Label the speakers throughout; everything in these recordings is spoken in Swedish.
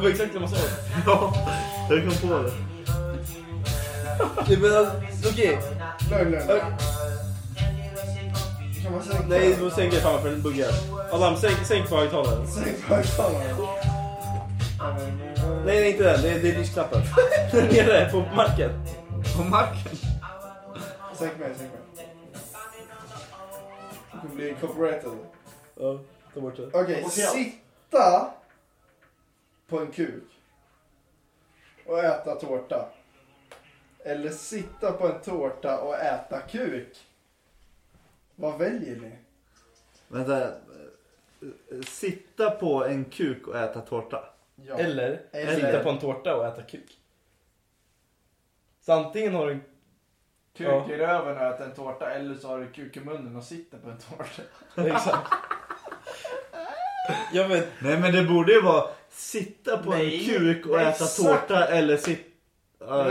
Speaker 1: egentligen man sa.
Speaker 2: Ja, jag kom på det.
Speaker 3: Nej men alltså, okej.
Speaker 4: Lugn, lugn.
Speaker 3: Okej,
Speaker 4: Kan man sänka?
Speaker 1: Nej, du sänker jag fan för den buggar. Adam, sänk, sänk på högtalaren.
Speaker 4: Sänk högtalaren.
Speaker 1: Nej, nej, inte den. Det är, det är lysknappen. Nere på marken.
Speaker 2: På marken.
Speaker 4: Sänk mig, sänk mig. Du kommer bli copyrighted.
Speaker 1: Ja, ta bort det.
Speaker 4: Okej, sitta på en kuk och äta tårta. Eller sitta på en tårta och äta kuk. Vad väljer ni?
Speaker 2: Vänta. eh, Sitta på en kuk och äta tårta.
Speaker 4: Ja.
Speaker 1: Eller,
Speaker 4: Eller-
Speaker 1: sitta på en tårta och äta kuk. Så antingen har du en...
Speaker 5: Kuk
Speaker 1: Ja.
Speaker 5: i röven och äter en tårta eller så har du kuk i munnen och sitter på en tårta.
Speaker 1: Exakt. Jag vet.
Speaker 2: Nej men det borde ju vara sitta på
Speaker 5: Nej,
Speaker 2: en kuk och äta
Speaker 4: exakt.
Speaker 2: tårta eller sitta... Ja,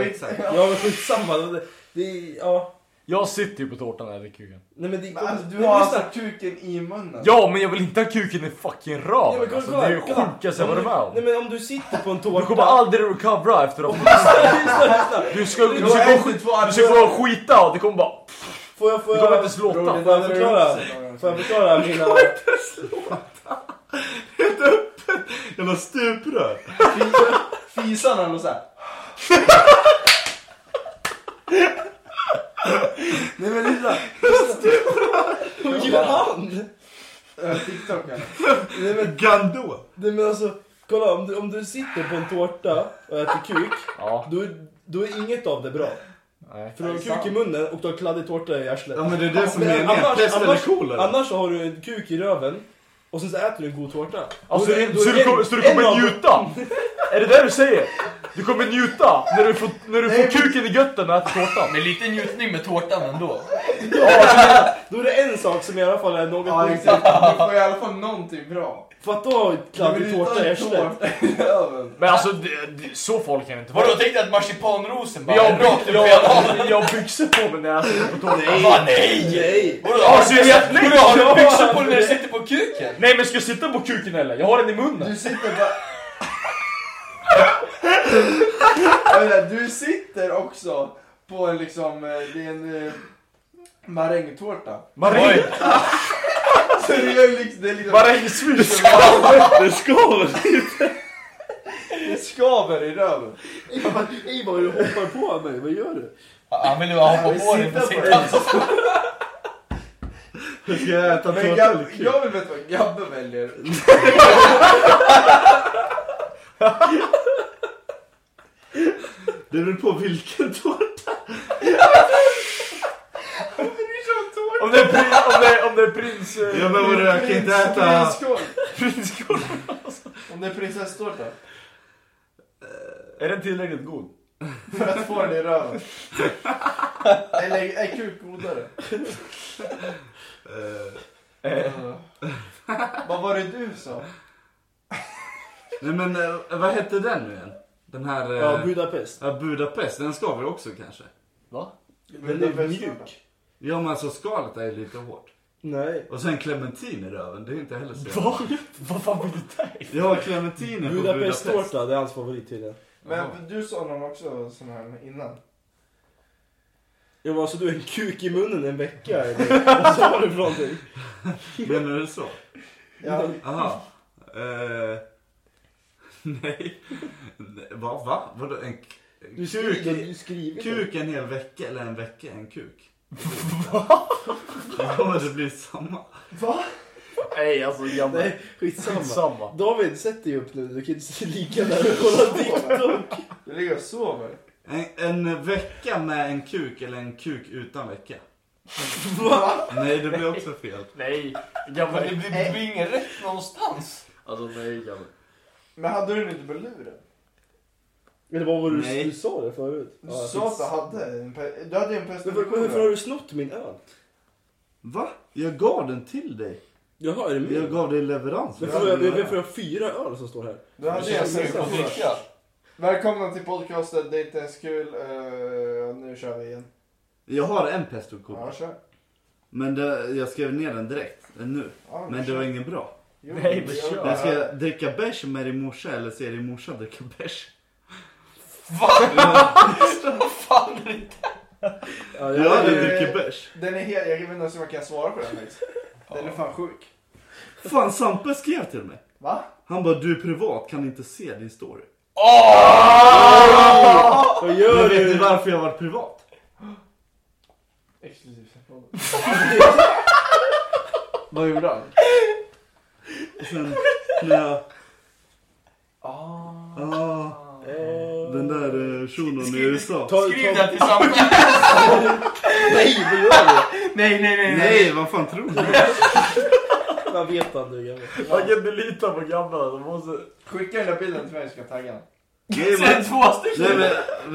Speaker 2: exakt.
Speaker 1: Ja, men skitsamma. Det, det, ja.
Speaker 6: Jag sitter ju på tårtan eller kuken.
Speaker 1: Nej, men det...
Speaker 4: Men alltså, du
Speaker 1: Nej,
Speaker 4: har
Speaker 1: lyssna.
Speaker 4: alltså kuken i munnen.
Speaker 6: Ja, men jag vill inte ha kuken i fucking
Speaker 1: Nej,
Speaker 6: röven.
Speaker 1: men kolla,
Speaker 6: alltså, det
Speaker 1: kolla,
Speaker 6: är ju
Speaker 1: kolla.
Speaker 6: sjukaste jag varit med om.
Speaker 1: Nej men om du sitter på en tårta...
Speaker 6: Du kommer aldrig recovera efter dem.
Speaker 1: Lyssna, lyssna.
Speaker 6: Du ska, du
Speaker 1: har
Speaker 6: ska, gå,
Speaker 4: typ-
Speaker 6: och skit- du ska gå och skita och det kommer bara...
Speaker 1: Får jag, får
Speaker 6: Du kommer
Speaker 1: jag,
Speaker 6: inte slåta.
Speaker 1: får jag förklara? Får jag förklara mina...
Speaker 2: Jävla stuprör.
Speaker 5: Fisarna och så här.
Speaker 4: Nej men lyssna.
Speaker 1: Hon gör hand!
Speaker 4: Eh, TikTok eller?
Speaker 1: Nej men,
Speaker 2: Gandå.
Speaker 1: nej, men alltså, kolla om du, om du sitter på en tårta och äter kuk,
Speaker 6: Ja,
Speaker 1: då är, då är inget av det bra.
Speaker 6: nej.
Speaker 1: För du har kuk i munnen och du har kladdig tårta i arslet.
Speaker 2: Ja men det är det som är
Speaker 1: Men
Speaker 2: meningen. Pest eller kolera.
Speaker 1: annars så har du en kuk i röven och sen så äter du en god tårta.
Speaker 6: Alltså,
Speaker 1: Då är
Speaker 6: det,
Speaker 1: det-
Speaker 6: så,
Speaker 1: då är
Speaker 6: du,
Speaker 1: det
Speaker 6: kommer-
Speaker 1: en-
Speaker 6: så du
Speaker 1: en av-
Speaker 6: kommer njuta? Är det det du säger? Du kommer njuta när du får, när du får kuken i götten och äter tårtan?
Speaker 3: men lite njutning med tårtan ändå.
Speaker 1: Då är det en sak som i alla fall är något
Speaker 4: Ja
Speaker 1: positivt.
Speaker 4: exakt. Du får i alla fall någonting bra.
Speaker 1: För att då har du kladdig tårta i arslet.
Speaker 4: arslet.
Speaker 6: Men alltså, det, det, så folk kan inte vara.
Speaker 3: Vadå tänkte jag att marsipanrosen bara
Speaker 6: Jag har
Speaker 3: jag, rakt
Speaker 6: byxor
Speaker 3: upp i alla
Speaker 6: jag, jag har byxor på mig när jag sitter på tårtan.
Speaker 3: Fan, nej!
Speaker 1: Nej!
Speaker 3: Vadå,
Speaker 6: Ja,
Speaker 3: har
Speaker 6: så
Speaker 3: du
Speaker 6: jag vet-
Speaker 3: byxor- vadå, har
Speaker 6: Ja,
Speaker 3: du byxor på
Speaker 6: men
Speaker 3: dig när du
Speaker 6: det-
Speaker 3: sitter på kuken?
Speaker 6: Nej men ska jag sitta på kuken eller? Jag har den i munnen.
Speaker 4: Du sitter bara... Jag menar, du sitter också på en liksom, eh, det är en eh, marängtårta.
Speaker 6: Maräng,
Speaker 4: Så det är liksom, det är liksom,
Speaker 6: marängsvin.
Speaker 2: Det ska väl
Speaker 4: det skaver i röven.
Speaker 1: Ey vad du hoppar på mig, vad gör du?
Speaker 3: Han vill ju bara hoppa på den
Speaker 4: Sitta på
Speaker 3: på sin
Speaker 4: den.
Speaker 3: plats.
Speaker 2: Ska jag äta
Speaker 4: Men
Speaker 2: tårta eller
Speaker 4: gab,
Speaker 2: kuk?
Speaker 4: jag vill veta vad Gabbe väljer.
Speaker 2: Det beror på vilken tårta.
Speaker 6: Om det är, prin, om det, om det är prins... eh,
Speaker 2: Ja men vadå jag kan inte
Speaker 4: Prins-
Speaker 2: äta...
Speaker 4: prinskorv.
Speaker 6: prinskorv.
Speaker 4: Om det är prinsesstårta.
Speaker 6: Är den tillräckligt god?
Speaker 4: För att få den i röven. Eller är kuk godare?
Speaker 2: Eh,
Speaker 4: Vad var det du sa?
Speaker 2: Nej men eh, vad hette den nu igen? Den här... eh,
Speaker 1: Ja, Budapest.
Speaker 2: ja, Budapest. Den ska väl också kanske?
Speaker 6: Va?
Speaker 1: Den är mjuk.
Speaker 2: Ja men alltså skalet är lite hårt.
Speaker 1: Nej.
Speaker 2: Och sen clementin i röven. Det är inte heller så
Speaker 6: Va? Vad fan blir det där?
Speaker 2: Jag har clementiner på Budapest.
Speaker 1: Budapest-tårta, det är hans favorit tydligen.
Speaker 4: Men du sa någon också sån här innan.
Speaker 1: Jag bara, så du har en kuk i munnen en vecka eller? Vad sa du för någonting?
Speaker 2: Menar du så?
Speaker 4: Ja,
Speaker 2: Aha. Eh, nej. Nej, Va? Va? Vadå en k-
Speaker 1: Du
Speaker 2: kuk?
Speaker 1: skriver, du skriver det.
Speaker 2: Kuk en hel vecka eller en vecka en kuk? Va? Ja men det blir samma.
Speaker 6: Nej alltså gammal.
Speaker 1: Nej, skitsamma.
Speaker 6: Samma.
Speaker 1: David, sätt dig upp nu. Du kan inte ligga där och kolla TikTok.
Speaker 4: jag ligger och sover.
Speaker 2: En, en vecka med en kuk eller en kuk utan vecka?
Speaker 1: Va?
Speaker 2: Nej det blir också fel.
Speaker 6: Nej.
Speaker 3: Men det
Speaker 6: Gammal.
Speaker 3: blir- det blir ingen rätt någonstans.
Speaker 6: Alltså nej gammal.
Speaker 4: Men hade du den inte på luren?
Speaker 1: Eller vad var det du,
Speaker 2: Nej.
Speaker 1: du sa det förut?
Speaker 4: Du
Speaker 1: Ja,
Speaker 4: sa att du hade en pe- Du hade ju en pest.
Speaker 1: men varför, varför har du snott min öl?
Speaker 2: Va? Jag gav den till dig.
Speaker 1: Jaha, är det
Speaker 2: Jag
Speaker 1: min?
Speaker 2: gav dig leverans.
Speaker 1: Varför har jag, varför har jag fyra öl som står här?
Speaker 4: Du
Speaker 3: Jag
Speaker 4: hade ju en
Speaker 3: känns sugen
Speaker 4: pest.
Speaker 3: på att dricka.
Speaker 4: Välkomna till podcasten, det är inte ens kul. Eh, nu kör vi igen.
Speaker 2: Jag har en pesto
Speaker 4: Ja, kör.
Speaker 2: Men det, jag skrev ner den direkt. Den nu.
Speaker 4: Ja,
Speaker 2: Men det var ingen bra.
Speaker 4: Jo,
Speaker 6: Nej, men
Speaker 4: jo.
Speaker 6: kör.
Speaker 2: Jag ska jag dricka bärs med din morsa eller ser din morsa dricka bärs?
Speaker 3: Fan, det är inte-
Speaker 1: Ja,
Speaker 2: Jag hade
Speaker 4: det-
Speaker 2: dricker bärs.
Speaker 4: Den är helt, jag vet inte ens om jag kan svara på den liksom. faktiskt. Den är fan sjuk.
Speaker 2: Fan Sampe skrev till mig.
Speaker 4: Va?
Speaker 2: Han bara du är privat, kan inte se din story.
Speaker 1: Vad
Speaker 2: Men
Speaker 1: gör
Speaker 2: vet ni
Speaker 1: du?
Speaker 2: varför jag var privat?
Speaker 4: Exklusivt.
Speaker 5: Vad gjorde han?
Speaker 2: Och sen när jag...
Speaker 5: Ah.
Speaker 2: Ah, den där eh, shunon i USA.
Speaker 1: Ta-
Speaker 3: Skriv
Speaker 1: ta-
Speaker 3: det till Sampe.
Speaker 1: Nej, vad gör
Speaker 3: Nej, nej, nej. nej.
Speaker 2: Nej, vad fan tror du?
Speaker 1: du? Vad vet han du gammal?
Speaker 6: Jag kan inte lita på grabbarna. De måste...
Speaker 4: Skicka den där bilden till mig så ska jag tagga den.
Speaker 2: Nej,
Speaker 3: Sen
Speaker 2: men,
Speaker 3: två stycken.
Speaker 2: nej, men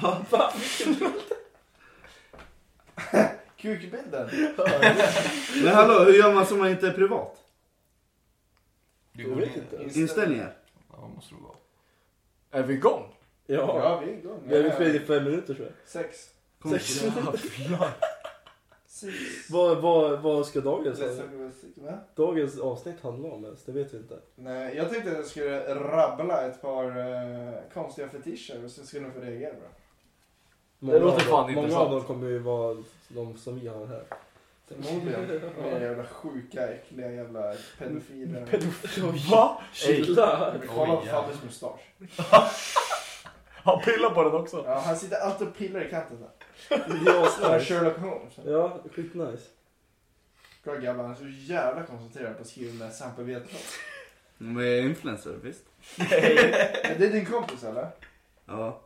Speaker 2: vänta. Va?
Speaker 4: Kukbilden?
Speaker 2: Men hallå, hur gör man så man inte är privat?
Speaker 3: Du
Speaker 1: Jag
Speaker 3: går
Speaker 1: vet
Speaker 3: in.
Speaker 1: inte.
Speaker 2: Inställningar?
Speaker 3: Ja, måste det vara.
Speaker 6: Är vi igång?
Speaker 1: Ja.
Speaker 4: Ja, vi är igång.
Speaker 1: Vi har ju spelat i fem minuter tror jag.
Speaker 4: Sex.
Speaker 2: Kompis.
Speaker 4: Six.
Speaker 1: Vad, vad, vad ska dagens,
Speaker 4: Va?
Speaker 1: dagens avsnitt handla om ens? Det vet vi inte.
Speaker 4: Nej, jag tänkte att jag skulle rabbla ett par eh, konstiga fetischer och så skulle ni få reagera bra.
Speaker 1: Många
Speaker 6: låter
Speaker 1: av dem-
Speaker 6: fan
Speaker 1: Många
Speaker 6: intressant.
Speaker 1: av dem kommer ju vara de som vi har här.
Speaker 4: Förmodligen. Med jävla sjuka, äckliga jävla pedofiler.
Speaker 6: Va?
Speaker 1: Chilla!
Speaker 4: Vi kollar på
Speaker 3: Oj,
Speaker 4: Fabbes mustasch.
Speaker 6: Han pillar på den också.
Speaker 4: Ja, han sitter alltid och pillar i kanten där.
Speaker 1: Det är
Speaker 4: Han är
Speaker 1: asnice.
Speaker 4: Sherlock Holmes.
Speaker 1: Ja, skitnice.
Speaker 4: Kolla grabbar, han är så jävla koncentrerad på att skriva den där Sampe vet något.
Speaker 2: Men jag är influencer, visst?
Speaker 4: Men det är din kompis eller?
Speaker 2: Ja,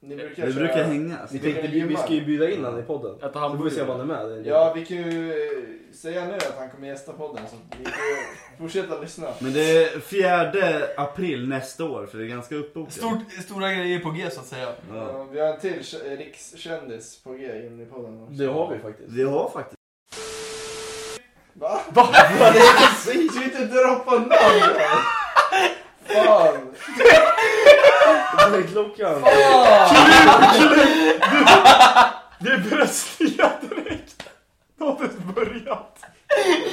Speaker 4: Ni brukar
Speaker 2: vi
Speaker 4: köra-
Speaker 2: brukar hängas.
Speaker 1: Vi tänkte vi, vi ska ju bjuda in han i podden.
Speaker 6: Äta
Speaker 1: Så får vi se om han
Speaker 6: hamburgare.
Speaker 1: är med.
Speaker 4: Ja, vi kan ju eh, säga nu att han kommer gästa podden så att vi får fortsätta lyssna.
Speaker 2: Men det är fjärde april nästa år för det är ganska uppbokat.
Speaker 3: Stort, stora grejer på G så att säga.
Speaker 2: Ja.
Speaker 4: Ja, Vi har en till k- rikskändis på G in i podden. också.
Speaker 1: Det har vi faktiskt.
Speaker 2: Vi har faktiskt.
Speaker 4: Va?
Speaker 6: Va?
Speaker 4: Vi ska inte droppa namn! här. Fan!
Speaker 1: Klockan!
Speaker 6: Det är bröstliga direkt. De har inte ens börjat.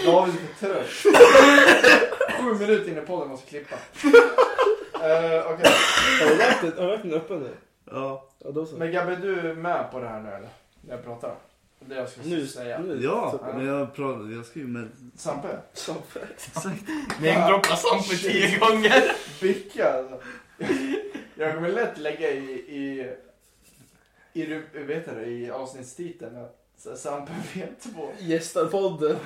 Speaker 4: David är för trött. Sju minuter in i podden måste klippa. Uh, Okej,
Speaker 1: Har du lagt den- har du lagt den öppen nu?
Speaker 2: Ja.
Speaker 1: Ja, då så.
Speaker 4: men Gabbe du är med på det här nu eller? När jag pratar? Det jag ska
Speaker 1: Nu,
Speaker 4: säga.
Speaker 1: nu.
Speaker 2: Ja,
Speaker 1: Så-
Speaker 2: men jag pratar, jag ska ju med...
Speaker 4: Sampe?
Speaker 1: så-
Speaker 2: Exakt.
Speaker 3: Namedroppa Sampe tio gånger.
Speaker 4: Bicka alltså. Jag kommer lätt lägga i, i, i, ru- vet du, det, i avsnittstiteln att så här, Sampe V2.
Speaker 1: Gästar podden.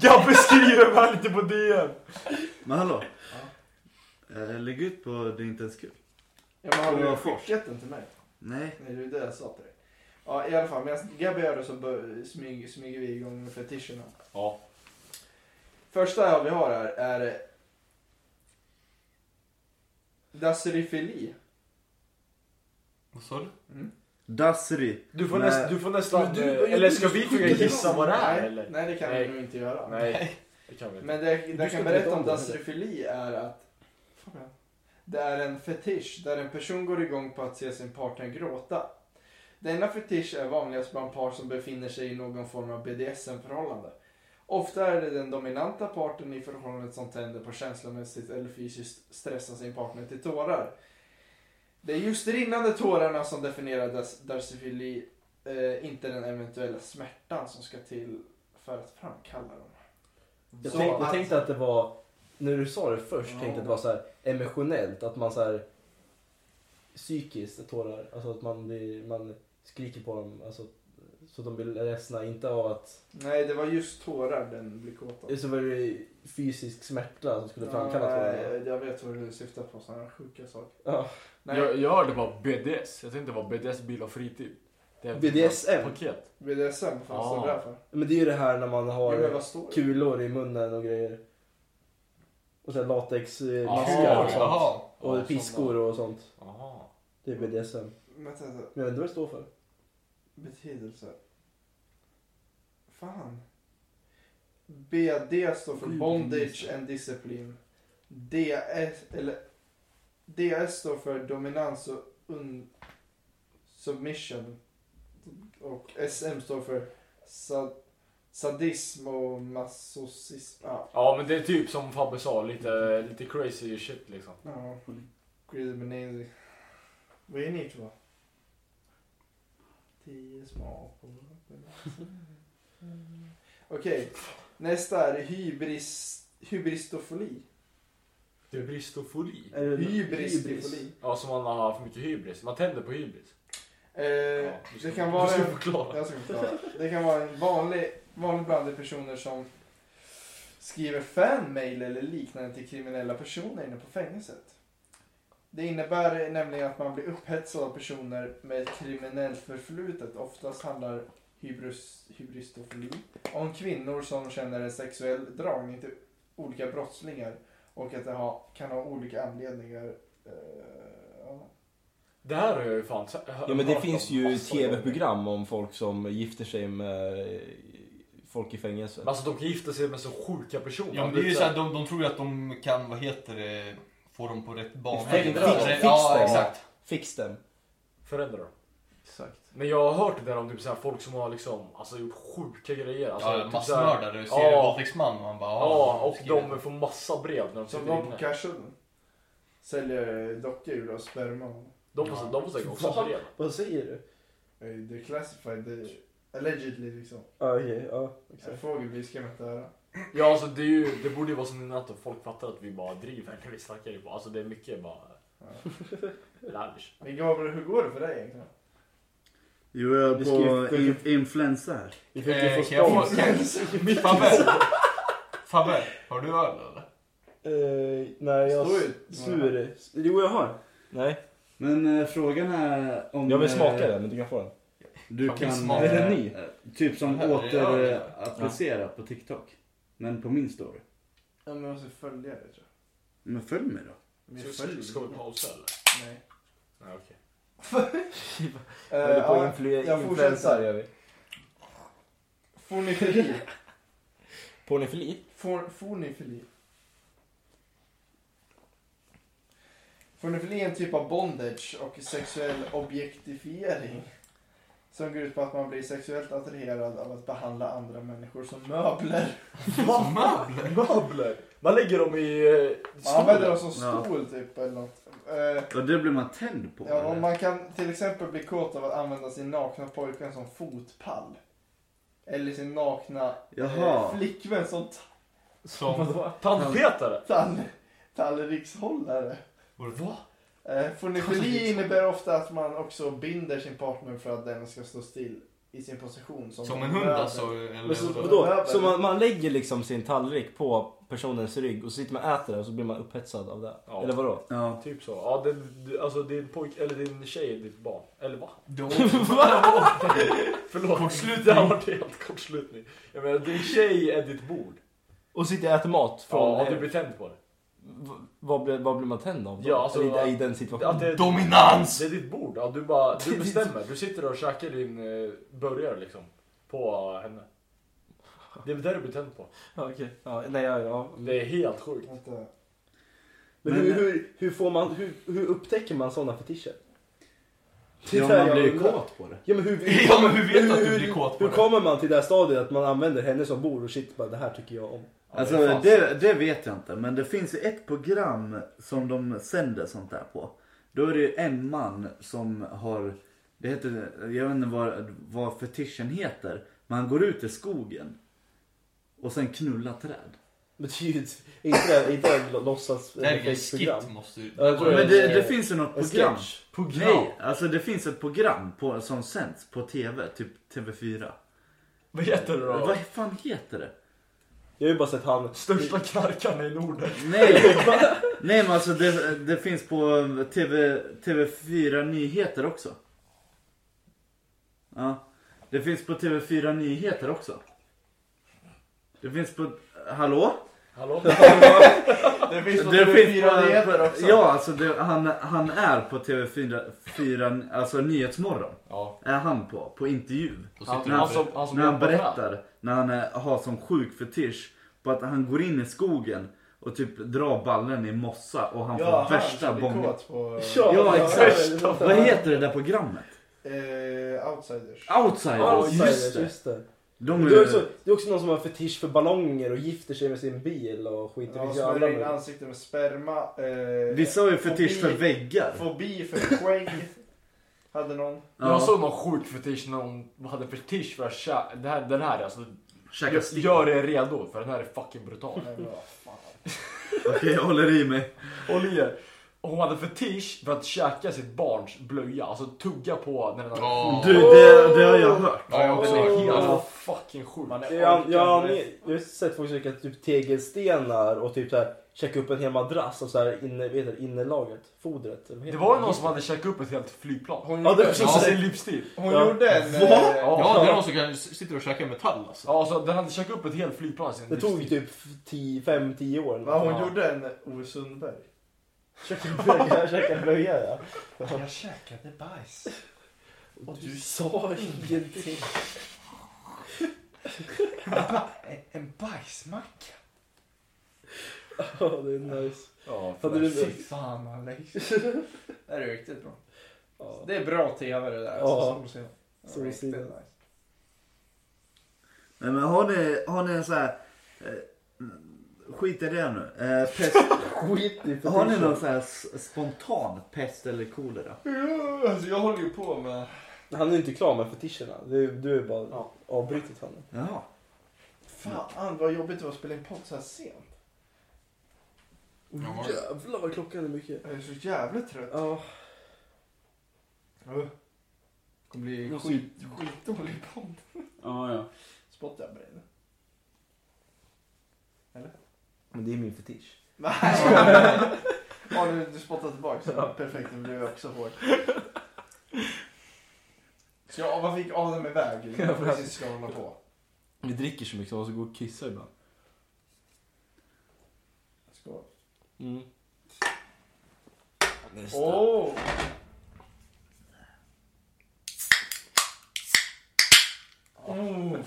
Speaker 6: Gabbe skriver bara lite på DN.
Speaker 2: Men hallå. Eh, Lägg ut på Det är inte ens kul.
Speaker 4: Ja, men har
Speaker 2: Det var
Speaker 4: du
Speaker 2: först.
Speaker 4: skickat den till mig?
Speaker 2: Nej.
Speaker 4: Nej, det är det jag sa till dig. Ja, i alla fall. Medan Gabby gör det så bör, smyg, smyger vi igång med fetischerna.
Speaker 6: Ja.
Speaker 4: Första vi har här är eh, Dasserifili.
Speaker 3: Vad sa du?
Speaker 2: Dasseri.
Speaker 6: Du får,
Speaker 2: Nej.
Speaker 6: näst, du får nästan...
Speaker 1: Men du-
Speaker 6: eh, eller ska vi försöka gissa vad det är
Speaker 4: Nej,
Speaker 6: eller?
Speaker 4: Nej, det kan
Speaker 6: Nej.
Speaker 4: vi nog inte göra.
Speaker 6: Nej. Det kan vi inte.
Speaker 4: Men det, det jag
Speaker 1: ska inte
Speaker 4: kan
Speaker 1: veta
Speaker 4: berätta
Speaker 1: om
Speaker 4: om
Speaker 1: det,
Speaker 4: Dasserifili är att det är en fetisch där en person går igång på att se sin partner gråta. Denna fetisch är vanligast bland par som befinner sig i någon form av BDSM-förhållande. Ofta är det den dominanta parten i förhållandet som tänder på känslomässigt eller fysiskt stressa sin partner till tårar. Det är just rinnande tårarna som definierar das- darsifili, eh, inte den eventuella smärtan som ska till för att framkalla dem.
Speaker 1: Jag,
Speaker 4: Så
Speaker 1: tänk, jag
Speaker 4: att-
Speaker 1: tänkte att det var, när du sa det först, tänkte jag att det var så här emotionellt. Att man så här psykiskt tårar. Alltså att man, blir, man skriker på dem. Alltså, så att de blir ledsna. Inte av att...
Speaker 4: Nej, det var just tårar den blev kåt av.
Speaker 1: Så var det fysisk smärta som skulle framkalla tårarna.
Speaker 4: Nej, jag vet vad du syftar på, sådana här sjuka saker.
Speaker 1: Ja.
Speaker 4: Nej,
Speaker 6: Jag, jag hörde bara BDS. Jag tänkte det var BDS bil och fritid. Det är ett
Speaker 1: BDSM?
Speaker 6: Paket.
Speaker 4: BDSM, vad fan står det där för?
Speaker 1: Men det är ju det här när man har...
Speaker 4: Jo, men vad står det?
Speaker 1: kulor i munnen och grejer. Och sen latexmaskar
Speaker 6: Jaha,
Speaker 1: och sånt.
Speaker 3: Jaha.
Speaker 1: Och piskor och sånt.
Speaker 6: Jaha.
Speaker 1: Det är BDSM. Men
Speaker 4: Vänta, vänta.
Speaker 1: jag vet inte vad det står för.
Speaker 4: Betydelse. Fan. BD står för Bondage and Discipline. DS, eller, DS står för Dominans och un, Submission. Och SM står för sad, sadism och masochism. Ja.
Speaker 7: Ja men det är typ som Fabbe sa, lite, lite crazy shit liksom.
Speaker 4: ja. Greedy Menezi. Vad är ni två? Tio små apor. Okej, nästa är hybris, hybristofoli.
Speaker 7: Hybristofoli.
Speaker 1: Eller-
Speaker 4: Hybristofoli.
Speaker 7: Ja, som man har för mycket hybris. Man tänder på hybris.
Speaker 4: Eh,
Speaker 7: Ja, du ska-
Speaker 4: det kan vara...
Speaker 7: Du ska förklara.
Speaker 4: Jag ska förklara. Det kan vara en vanlig, vanlig blandning personer som skriver fanmail eller liknande till kriminella personer inne på fängelset. Det innebär nämligen att man blir upphetsad av personer med ett kriminellt förflutet. Oftast handlar hybris, hybristofili om kvinnor som känner en sexuell dragning till olika brottslingar och att det ha, kan ha olika anledningar. Eh, ja.
Speaker 7: Det här har jag ju fan
Speaker 1: Ja men det finns ju tv-program om folk som gifter sig med eh, folk i fängelse.
Speaker 7: Alltså de kan gifta sig med så sjuka personer. Typ
Speaker 3: Ja, men det är ju såhär, de, de tror ju att de kan, vad heter det, få dem på rätt bana.
Speaker 1: Fix- fix- fix
Speaker 3: ja,
Speaker 1: dem.
Speaker 3: exakt.
Speaker 1: Fix dem.
Speaker 7: Förändra dem.
Speaker 8: Exakt.
Speaker 7: Men jag har hört det där om typ så här folk som har liksom, alltså, gjort sjuka grejer. Alltså,
Speaker 3: Ja,
Speaker 7: typ så här-
Speaker 3: massmördare,
Speaker 7: Ja.
Speaker 3: serievåldtäktsman. Man bara,
Speaker 7: Ja, och
Speaker 3: skriver.
Speaker 7: de får massa brev när de
Speaker 4: Som
Speaker 7: sitter
Speaker 4: var på
Speaker 7: inne.
Speaker 4: Carson. Säljer dockdjur och sperma.
Speaker 7: De får, de får säkert också
Speaker 1: Va?
Speaker 7: brev.
Speaker 1: Vad säger du?
Speaker 4: Eh, Det är classified, det är allegedly liksom.
Speaker 1: Ja okej, ja.
Speaker 4: En
Speaker 1: exakt.
Speaker 4: fågelby ska man inte höra.
Speaker 7: Ja, alltså det, är ju, det borde ju vara som innan att folk fattar att vi bara driver när vi snackar. ju bara. Alltså det är mycket bara...
Speaker 4: Ja.
Speaker 7: Lavish.
Speaker 4: Men Gabriel, hur går det för dig egentligen?
Speaker 2: Jo, jag
Speaker 1: Vi
Speaker 2: är
Speaker 1: ska ju
Speaker 2: på
Speaker 1: följa-
Speaker 2: in, influensa här.
Speaker 1: Vi fick ju
Speaker 3: Eh,
Speaker 1: få
Speaker 3: kan jag
Speaker 1: spons.
Speaker 3: få... Kan, Fabbe! Fabbe, har du öl eller?
Speaker 1: Eh, nej jag...
Speaker 4: Står ut.
Speaker 1: Sur.
Speaker 2: Jo, jag har.
Speaker 1: Nej.
Speaker 2: Men eh, frågan är om...
Speaker 1: Jag vill smaka
Speaker 2: eh,
Speaker 1: den men du kan få den.
Speaker 2: Du
Speaker 3: Jag vill
Speaker 2: kan...
Speaker 3: smaka.
Speaker 1: Är den
Speaker 2: eh,
Speaker 1: ny?
Speaker 2: eh, Typ som
Speaker 3: Den här är öl.
Speaker 2: återapplicera på TikTok. Men på min story.
Speaker 4: Ja, men jag måste följa det tror
Speaker 2: Men följ mig då.
Speaker 4: jag. Men
Speaker 7: Ska,
Speaker 4: jag
Speaker 7: ska,
Speaker 4: följer
Speaker 7: ska vi
Speaker 4: det.
Speaker 7: pausa eller?
Speaker 4: Nej.
Speaker 7: Nej okej.
Speaker 1: Jag håller
Speaker 4: Eh,
Speaker 1: på
Speaker 4: ja,
Speaker 1: att influ-
Speaker 4: jag
Speaker 1: influensa
Speaker 4: fortsätter.
Speaker 1: gör vi.
Speaker 4: Fornifili.
Speaker 1: Pornofili?
Speaker 4: For, fornifili. Fornifili är en typ av bondage och sexuell objektifiering. Som går ut på att man blir sexuellt attraherad av att behandla andra människor som möbler.
Speaker 3: Som möbler?
Speaker 7: Möbler! Man lägger dem i... eh,
Speaker 4: Man använder dem som
Speaker 2: Ja.
Speaker 4: stol typ eller något. Eh,
Speaker 2: Och det blir man tänd på.
Speaker 4: Ja, och
Speaker 2: eller?
Speaker 4: man kan till exempel bli kåt av att använda sin nakna pojkvän som fotpall. Eller sin nakna eh,
Speaker 2: Jaha.
Speaker 4: flickvän som
Speaker 3: Som...
Speaker 7: Tandpetare!
Speaker 4: tall tallrikshållare.
Speaker 7: Va?
Speaker 4: Eh, Fornifili innebär ofta att man också binder sin partner för att den ska stå still i sin position. Som,
Speaker 3: Som en hund
Speaker 4: möbel.
Speaker 3: alltså? Eller
Speaker 1: Men så,
Speaker 3: vadå?
Speaker 1: vadå? Så man, man lägger liksom sin tallrik på personens rygg och så sitter man och äter det och så blir man upphetsad av det?
Speaker 7: Ja.
Speaker 1: Eller vadå?
Speaker 2: Ja.
Speaker 7: Typ så. Ja, det, det, alltså din pojk, eller din tjej är ditt barn. Eller va?
Speaker 3: Då...
Speaker 7: Förlåt.
Speaker 3: Kortslutning.
Speaker 7: Det har varit helt kortslutning. Jag menar din tjej är ditt bord.
Speaker 1: Och sitter och äter mat från...
Speaker 7: Ja,
Speaker 1: eh,
Speaker 7: du blir tänd på det.
Speaker 1: v- vad, blir, vad blir man tänd av då?
Speaker 7: Ja, alltså,
Speaker 1: Eller i, i
Speaker 7: att-
Speaker 1: den situationen?
Speaker 7: det är-
Speaker 3: Dominans!
Speaker 7: Det är ditt bord. Ja, du, bara, du bestämmer. Du sitter och käkar din eh, burgare liksom. På eh, henne. Det är det du blir tänd på.
Speaker 1: Ja, okej. Ja, nej, ja, ja.
Speaker 7: Det är helt sjukt.
Speaker 4: Vänta.
Speaker 1: Men,
Speaker 2: Men-
Speaker 1: hur, hur, hur, får man, hur, hur upptäcker man sådana fetischer? Det
Speaker 7: Typ
Speaker 1: är
Speaker 2: ja
Speaker 1: där
Speaker 2: man
Speaker 1: jag
Speaker 2: blir ju
Speaker 1: undrar.
Speaker 2: kåt på det.
Speaker 1: Ja men hur,
Speaker 3: Ja, men hur vet du att du
Speaker 1: hur-
Speaker 3: blir kåt på
Speaker 1: Hur
Speaker 3: det?
Speaker 1: kommer man till det här stadiet att man använder henne som bord och shit bara det här tycker jag om?
Speaker 2: Alltså
Speaker 7: det är fan
Speaker 2: det, det vet jag inte. Men det finns ju ett program som de sänder sånt där på. Då är det ju en man som har, det heter, jag vet inte vad, vad fetischen heter. Men han går ut i skogen. Och sen knullar träd.
Speaker 1: Men det är ju ett- inte det, inte det låtsas
Speaker 3: Det här är en
Speaker 1: program.
Speaker 3: skit måste ju...
Speaker 1: Ja, jag tror
Speaker 2: Men det, det
Speaker 1: Eh,
Speaker 2: finns ju något
Speaker 1: En
Speaker 2: program.
Speaker 1: sketch.
Speaker 2: Nej, alltså det finns ett program på, som sänds på TV, typ TV4.
Speaker 7: Vad heter det
Speaker 2: Vad
Speaker 7: då?
Speaker 2: fan heter det?
Speaker 1: Jag har ju bara sett han.
Speaker 7: Största knarkarna i Norden.
Speaker 2: Nej, Nej men alltså det, det finns på um, TV, TV4 Nyheter också. Ja, det finns på TV4 Nyheter också. Det finns på, hallå?
Speaker 7: Hallå?
Speaker 4: Det finns
Speaker 2: Det
Speaker 4: något
Speaker 2: finns
Speaker 4: fyra
Speaker 2: på,
Speaker 4: nyheter också.
Speaker 2: ja alltså det, han, han är på TV4, 4, alltså Nyhetsmorgon.
Speaker 7: Ja.
Speaker 2: Är han på, på intervju.
Speaker 3: Då sitter
Speaker 2: Han,
Speaker 3: du
Speaker 2: han
Speaker 3: på-
Speaker 2: som,
Speaker 7: han som
Speaker 2: när han
Speaker 7: jobbar med
Speaker 2: berättar, när han är, har som sjuk fetisch på att han går in i skogen och typ drar ballen i mossa och han
Speaker 4: Ja,
Speaker 2: får
Speaker 4: han
Speaker 2: värsta
Speaker 4: som blir
Speaker 2: bongen.
Speaker 4: kåt på
Speaker 2: Ja, exakt.
Speaker 1: ja,
Speaker 2: Vad heter det där programmet?
Speaker 4: eh, outsiders.
Speaker 2: Outsiders!
Speaker 1: Ja,
Speaker 2: just det!
Speaker 1: Just det.
Speaker 2: De
Speaker 1: Det är, också, det är också någon som har fetisch för ballonger och gifter sig med sin bil och skiter
Speaker 4: Ja,
Speaker 1: i
Speaker 4: smörjer in
Speaker 1: jävla
Speaker 4: ansiktet med sperma. Eh,
Speaker 2: Vissa har ju fetisch för väggar.
Speaker 4: Fobi för skägg. Hade någon.
Speaker 6: Jag
Speaker 2: Ja,
Speaker 6: såg någon sjuk fetisch när hon hade fetisch för att kä- det här, den här alltså.
Speaker 2: käka
Speaker 6: Gör-
Speaker 2: stick.
Speaker 6: Gör er redo för den här är fucking brutal.
Speaker 4: Nej, men vad fan.
Speaker 2: Okej, jag håller i mig.
Speaker 6: Håll i er. Hon hade fetisch för att käka sitt barns blöja, alltså tugga på när den hade
Speaker 3: Ja.
Speaker 2: Du, det, det har jag hört.
Speaker 3: Ja, jag
Speaker 6: Det
Speaker 3: också.
Speaker 6: är helt
Speaker 1: Ja.
Speaker 6: fucking sjukt.
Speaker 4: Man är
Speaker 1: Jag,
Speaker 4: orkan
Speaker 1: jag, har
Speaker 4: med-
Speaker 1: med- jag har sett folk som käkar typ tegelstenar och typ så här, käka upp en hel madrass och så här inne, vad heter det, innerlaget, fodret. eller vad
Speaker 6: Det
Speaker 1: heter
Speaker 6: var ju någon som hade käkat upp ett helt flygplan.
Speaker 4: Hon
Speaker 1: Ja, det
Speaker 4: gjorde,
Speaker 1: är
Speaker 6: Ja,
Speaker 1: precis
Speaker 6: sin
Speaker 1: det.
Speaker 6: livsstil.
Speaker 4: hon
Speaker 1: Ja.
Speaker 4: gjorde en...
Speaker 2: Va?
Speaker 4: eh,
Speaker 3: Ja, det är någon som kan, sitter och käkar metall alltså.
Speaker 6: Ja, så den hade käkat upp ett helt flygplan i sin
Speaker 1: Det tog
Speaker 6: livstid.
Speaker 1: typ 5-10 år. eller
Speaker 4: Va, hon
Speaker 6: Ja.
Speaker 4: gjorde en Ove Sundberg.
Speaker 1: Käkade blöja, käkade blöja ja.
Speaker 4: Jag käkade bajs.
Speaker 1: Och du sa ingenting.
Speaker 4: En bajsmacka?
Speaker 1: Ja, det är nice.
Speaker 6: Ja,
Speaker 1: Hade du
Speaker 4: Fy fan Alex. det är riktigt bra.
Speaker 1: Ja.
Speaker 4: Det är bra tv det där.
Speaker 1: Ja.
Speaker 4: Alltså, Solsidan.
Speaker 1: Solsidan.
Speaker 4: Riktigt nice.
Speaker 2: Nej, men har ni, har ni en så här... Eh, skit i det nu. Eh, pest,
Speaker 1: Skit i
Speaker 2: har ni
Speaker 1: fetischen.
Speaker 2: någon så här s- spontan pest eller kolera?
Speaker 4: Ja, alltså, jag håller ju på med...
Speaker 1: Han är ju inte klar med fetischerna. Du, du är bara
Speaker 4: Ja.
Speaker 1: avbrutit honom.
Speaker 2: Jaha.
Speaker 4: Fan vad jobbigt det var att spela in podd så här sent.
Speaker 3: Ja.
Speaker 1: Jävlar vad klockan är mycket.
Speaker 4: Jag är så jävla trött.
Speaker 1: Ja.
Speaker 4: Uh. kommer bli skit, skitdålig podd.
Speaker 2: Ja, ja.
Speaker 4: Spottar jag på dig nu?
Speaker 1: Men det är min fetisch.
Speaker 4: Nej! Ja, nu, du spottar tillbaka. Så perfekt, nu blev jag också hård. Så jag, vad fick Adam iväg? Jag precis ska hålla på.
Speaker 6: Vi dricker så mycket och så går och kissar ibland.
Speaker 4: Skål.
Speaker 6: Mm.
Speaker 4: Åh!
Speaker 2: Mm.
Speaker 4: Oh,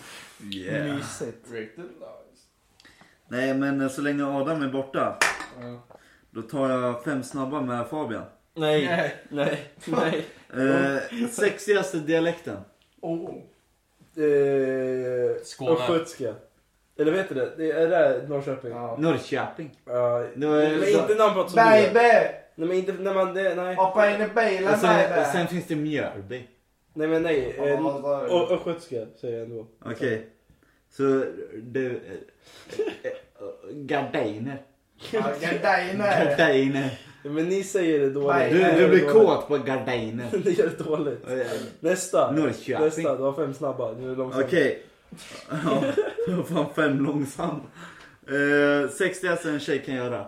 Speaker 2: Yeah.
Speaker 1: Mysigt.
Speaker 4: riktigt nice.
Speaker 2: Nej, men eh, så länge Adam är borta,
Speaker 4: Ja.
Speaker 2: då tar jag fem snabba med Fabian.
Speaker 1: Nej,
Speaker 4: Nej.
Speaker 1: nej, nej.
Speaker 2: Eh, sexigaste dialekten?
Speaker 4: Oh.
Speaker 1: Eh,
Speaker 3: Skåne.
Speaker 1: Östgötska. Eller vet du det? det är det Norrköping? Ja.
Speaker 4: Ja.
Speaker 2: Norrköping. eh, Det var-
Speaker 1: men inte när man pratar som du gör.
Speaker 4: Baby!
Speaker 1: Nej men inte när man, det, nej.
Speaker 4: Hoppa in i bilen
Speaker 2: Och sen,
Speaker 4: baby!
Speaker 2: och alltså, sen finns det Mjölby.
Speaker 1: Nej men nej. Eh,
Speaker 4: Ja, vad var det?
Speaker 1: Ö- Östgötska säger jag ändå.
Speaker 2: Okej. Så du... eh, eh, Gardiner.
Speaker 4: Ja, Gardiner!
Speaker 2: Gardiner.
Speaker 1: Nej, Men ni säger det dåligt.
Speaker 4: Nej,
Speaker 2: Du,
Speaker 1: Ni
Speaker 2: du
Speaker 1: gör
Speaker 2: blir
Speaker 1: det dåligt.
Speaker 2: kåt på gardiner. Eh,
Speaker 1: Ni gör det dåligt. Nästa.
Speaker 2: Norrköping.
Speaker 1: Nästa, du har fem snabba. Nu är det långsamt.
Speaker 2: Okej. Ja, jag var fan fem långsam. Eh, Sexigaste en tjej kan göra.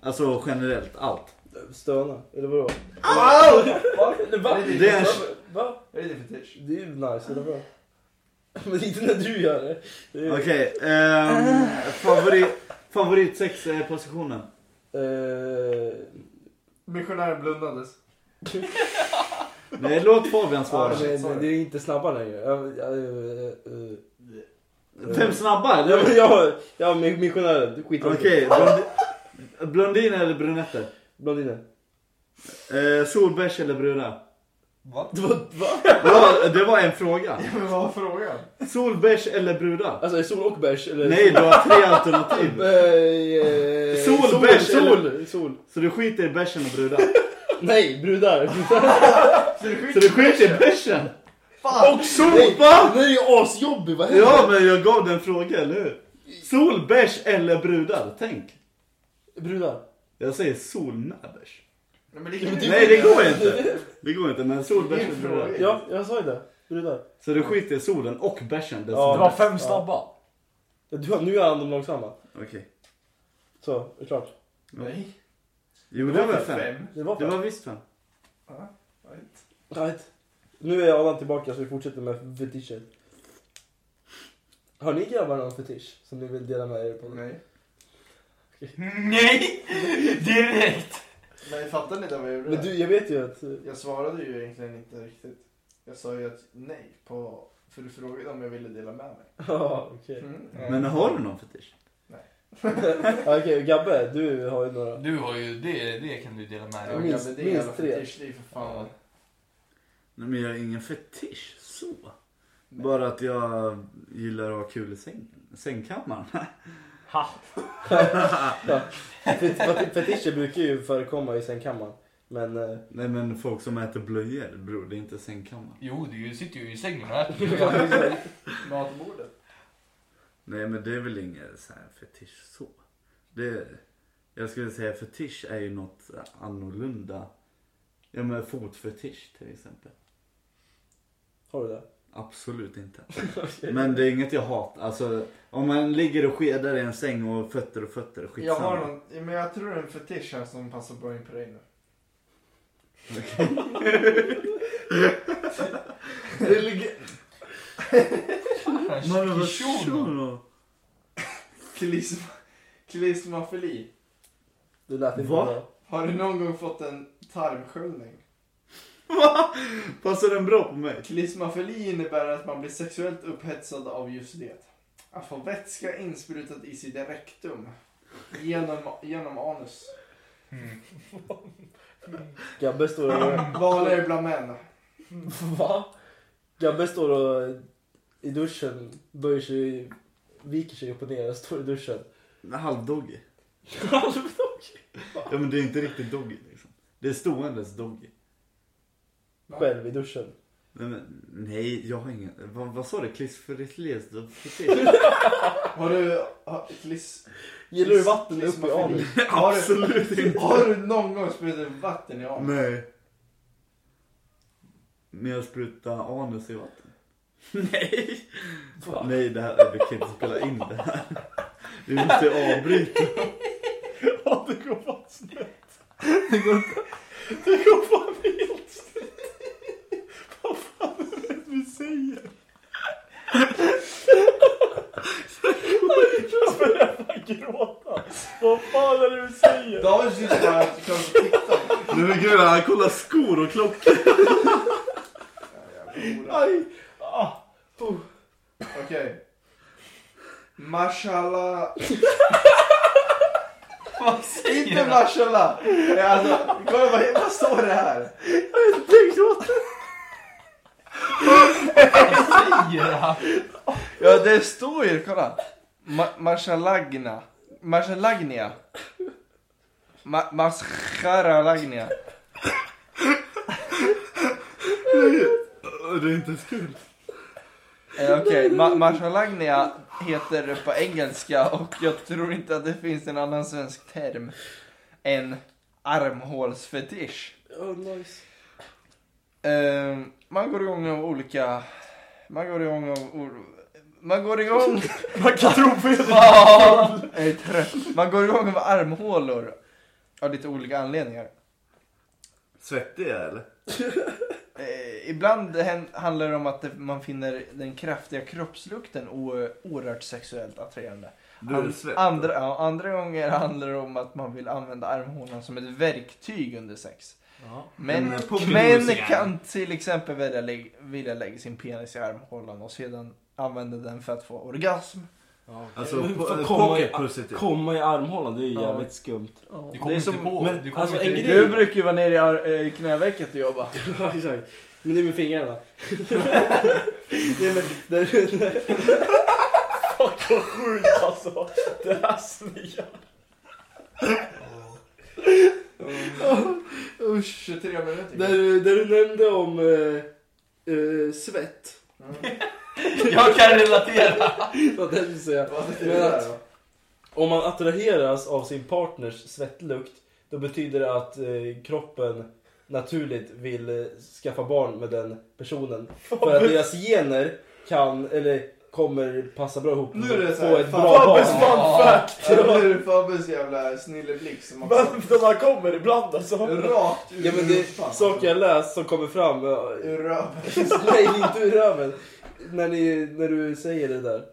Speaker 2: Alltså generellt, allt.
Speaker 1: Stöna, eller vadå?
Speaker 4: Wow!
Speaker 1: Va? Nej, va?
Speaker 2: Det är en-
Speaker 1: Va?
Speaker 4: Det är din fetisch.
Speaker 1: Det är ju nice, eller bra? Men inte när du gör det. det är...
Speaker 2: Okej. ehm, favorit, favorit sexpositionen?
Speaker 1: Eh,
Speaker 4: Missionären blundades.
Speaker 2: Nej, låt Fabian svara.
Speaker 4: Ja, shit,
Speaker 1: men,
Speaker 4: sorry.
Speaker 1: men det är inte snabba längre. Jag, jag, eh, eh,
Speaker 2: Fem snabba
Speaker 1: jag,
Speaker 2: eller?
Speaker 1: jag, jag är missionären, skit i det.
Speaker 2: Okej, blondi- blondiner eller brunetter?
Speaker 1: Blondiner.
Speaker 2: Eh, solbärs eller bruna?
Speaker 4: Va?
Speaker 1: Det var, va?
Speaker 2: Det var, det var en fråga.
Speaker 4: Men vad var frågan?
Speaker 2: Solbärs eller bruna?
Speaker 1: Alltså är sol och bärs eller?
Speaker 2: Nej, du har tre alternativ.
Speaker 1: Eh,
Speaker 2: Sol,
Speaker 1: sol,
Speaker 2: bärs,
Speaker 1: sol, sol.
Speaker 2: Så du skiter i bärsen och bruna.
Speaker 1: Nej, brudar.
Speaker 4: Så det
Speaker 2: Så
Speaker 4: skiter
Speaker 2: du skiter i bärsen?
Speaker 4: fan!
Speaker 2: Och sopa!
Speaker 1: Det är ju asjobbig, vad händer?
Speaker 2: Ja, men jag gav dig en fråga, eller hur? Sol, bärs eller brudar? Tänk.
Speaker 1: Brudar.
Speaker 2: Jag säger sol med bärs.
Speaker 4: Nej, men det kan
Speaker 2: Nej, det går inte. Det går inte, men sol, bärs och brudar.
Speaker 1: Ja, jag sa ju det. Brudar.
Speaker 2: Så du skiter i solen och
Speaker 1: Ja,
Speaker 2: bärsen
Speaker 6: Det
Speaker 2: dessutom?
Speaker 6: var fem snabba.
Speaker 1: Ja, Du, nu är han de långsamma.
Speaker 2: Okej.
Speaker 1: Så, det är klart.
Speaker 4: Nej.
Speaker 2: Jo, det var fem.
Speaker 1: Det var
Speaker 2: Det
Speaker 1: fem.
Speaker 2: var visst fem.
Speaker 4: Right.
Speaker 1: Right. Nu är Adam tillbaka så vi fortsätter med fetischer. Har ni grabbar någon fetisch som ni vill dela med er på?
Speaker 4: Nej.
Speaker 3: Nej! Direkt!
Speaker 4: Nej, fattar ni det vad jag gjorde?
Speaker 1: Men du, jag vet ju att...
Speaker 4: Jag svarade ju egentligen inte riktigt. Jag sa ju att nej på... För du frågade om jag ville dela med mig.
Speaker 1: Ja, okej.
Speaker 4: Mm.
Speaker 2: Men har du någon fetisch?
Speaker 1: Ja, Okej, Gabbe, du har ju några.
Speaker 3: Du har ju, det, det kan du dela med
Speaker 4: Ja,
Speaker 3: dig
Speaker 1: minst-
Speaker 4: men det är
Speaker 1: minst
Speaker 4: jävla
Speaker 1: tre.
Speaker 4: fetisch, Det är för fan...
Speaker 2: Nej, men jag har ingen fetisch så. Bara att jag gillar att ha kul i sängen. Sängkammaren.
Speaker 6: Ha!
Speaker 1: Fet- Fetischer brukar ju förekomma i sängkammaren. Men eh,
Speaker 2: Nej men folk som äter blöjor bror, det är inte sängkammaren.
Speaker 3: Jo, du sitter ju i sängen och äter.
Speaker 5: Matbordet.
Speaker 2: Nej men det är väl ingen så här fetisch så. Det, jag skulle säga fetisch är ju något annorlunda. Ja men fotfetisch till exempel.
Speaker 1: har du det?
Speaker 2: Absolut inte. Men det är inget jag hatar. Alltså om man ligger och skedar i en säng och fötter och fötter,
Speaker 4: Jag
Speaker 2: skitsamma.
Speaker 4: har någon, men jag tror det är en fetisch här som passar bra in på dig nu.
Speaker 2: Det ligger... Man vill vara
Speaker 3: Kishuno.
Speaker 2: shuno.
Speaker 4: Klisma, klismafili.
Speaker 1: Du lät inte
Speaker 2: Va?
Speaker 1: bra.
Speaker 4: Har du någon gång fått en tarmsköljning?
Speaker 2: Passar den bra på mig?
Speaker 4: Klismafili innebär att man blir sexuellt upphetsad av just det. Att få vätska insprutat i sitt rektum. Genom, genom anus.
Speaker 3: Mm.
Speaker 1: Gabbe står och...
Speaker 4: Vanligare bland män.
Speaker 1: Va? Gabbe står och i duschen böjer sig, viker sig upp och ner och står i duschen.
Speaker 2: Halvdoggy. Ja men det är inte riktigt doggy liksom. Det är ståendes doggy.
Speaker 1: Själv i duschen.
Speaker 2: Nej, men, nej jag har ingen... Vad, vad sa du? Klisferitlies?
Speaker 4: Har du... Har, klis,
Speaker 1: Gillar du vatten upp i
Speaker 4: klismafili?
Speaker 1: anus?
Speaker 4: Har du,
Speaker 2: Absolut inte.
Speaker 4: har du någon gång sprutat vatten i anus?
Speaker 2: Nej. Men jag sprutar anus i vatten. Nej.
Speaker 1: Va?
Speaker 2: Nej det här, vi kan inte spela in det här. Vi måste avbryta.
Speaker 6: Ja, det går fan snett. Det går inte. Det går fan helt snett. Vad fan är det vi säger? Jag börjar fan gråta. Vad fan är det vi säger?
Speaker 4: David sitter bara och kanske tittar.
Speaker 2: Nej men gud han kollar skor och klockor.
Speaker 6: Aj. Ah.
Speaker 4: Okej. Mashallah.
Speaker 3: Vad säger
Speaker 4: Inte
Speaker 3: han?
Speaker 4: mashallah. Nej, Alltså, kolla vad, vad står det här?
Speaker 3: Säger han?
Speaker 4: Ja, det står ju, kolla. Ma- Mashalagna. Mashalagnia. Ma- Masharalagnia.
Speaker 2: Äh, Det är inte ens kul.
Speaker 4: Eh, Okej, Ma- Mashalagnia heter det på engelska och jag tror inte att det finns en annan svensk term än armhålsfetisch.
Speaker 1: Oh, nice.
Speaker 4: Eh, man går igång av olika... Man går igång av... or- Man går igång...
Speaker 6: Man kan tro på det.
Speaker 4: Ja, jag är trött. Man går igång med armhålor av lite olika anledningar.
Speaker 2: Svettiga eller?
Speaker 4: Eh, ibland hän- handlar det om att det- man finner den kraftiga kroppslukten o- oerhört sexuellt attraherande.
Speaker 2: Du är
Speaker 4: An-
Speaker 2: svett.
Speaker 4: andra, ja, andra gånger handlar det om att man vill använda armhålan som ett verktyg under sex. Men
Speaker 2: Men på
Speaker 4: män
Speaker 2: blues igen.
Speaker 4: kan till exempel välja lägg, vilja lägga sin penis i armhålan och sedan använda den för att få orgasm.
Speaker 2: Alltså po-
Speaker 6: Får komma
Speaker 2: pocket
Speaker 6: i-
Speaker 2: pussy typ.
Speaker 6: Komma i armhålan, det är
Speaker 4: Ja. jävligt
Speaker 6: skumt.
Speaker 3: Du
Speaker 6: Det
Speaker 3: kommer
Speaker 6: är
Speaker 3: inte
Speaker 6: som-
Speaker 3: på.
Speaker 6: men,
Speaker 3: du kommer
Speaker 6: alltså,
Speaker 3: inte...
Speaker 6: en grej-
Speaker 5: Du brukar ju vara nere i ar- eh, i knävecket och jobba.
Speaker 1: Ja, exakt. Men det är med fingrarna. Nej, men, det,
Speaker 6: Fuck vad sjukt alltså. Det här snear.
Speaker 4: Usch, 23 minuter.
Speaker 1: där, du- där du nämnde om eh, eh, svett.
Speaker 3: Jag kan relatera.
Speaker 1: Vad tänkte jag säga.
Speaker 4: Vad är det där då?
Speaker 1: Om man attraheras av sin partners svettlukt då betyder det att eh, kroppen naturligt vill eh, skaffa barn med den personen. För att deras gener kan, eller kommer passa bra ihop
Speaker 4: Nu är det så
Speaker 1: få
Speaker 4: här,
Speaker 1: ett
Speaker 4: fan,
Speaker 1: bra
Speaker 4: Fabbes
Speaker 1: barn.
Speaker 4: Ja, det är Fabbes jävla snilleblick som också...
Speaker 6: Men de här kommer ibland alltså.
Speaker 4: Rakt ur
Speaker 1: Ja men det är
Speaker 4: rumpan.
Speaker 1: saker jag läst som kommer fram. eh,
Speaker 4: Ur röven.
Speaker 1: Nej inte ur röven. När, ni, när du säger det där.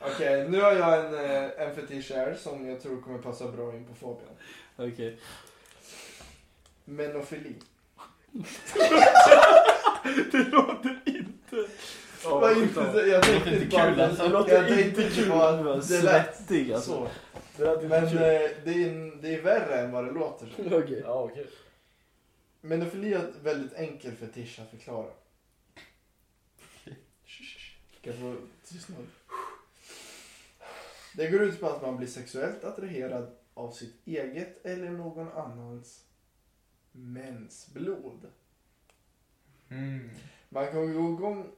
Speaker 4: Okej, nu har jag en, eh, en fetisch här som jag tror kommer passa bra in på Fabian.
Speaker 1: Okej.
Speaker 4: Menofili.
Speaker 6: Ja,
Speaker 4: Vad
Speaker 6: skit
Speaker 4: inte,
Speaker 6: av.
Speaker 4: så- jag tänkte
Speaker 3: Det låter
Speaker 4: inte
Speaker 3: inte
Speaker 4: bara...
Speaker 3: kul, alltså.
Speaker 4: jag
Speaker 6: Det låter
Speaker 4: tänkte
Speaker 6: inte
Speaker 4: inte
Speaker 6: kul.
Speaker 4: bara- Det lät
Speaker 6: Svettig alltså.
Speaker 4: så.
Speaker 6: Det lät
Speaker 4: Men
Speaker 6: inte kul.
Speaker 4: eh, det är, det är värre än vad det låter.
Speaker 1: Okej.
Speaker 6: Ja, okej.
Speaker 4: Menofili är en väldigt enkel fetisch att förklara. Kan jag få tystnad? Det går ut på att man blir sexuellt attraherad av sitt eget eller någon annans mensblod.
Speaker 3: Mm.
Speaker 4: Man kan gå igång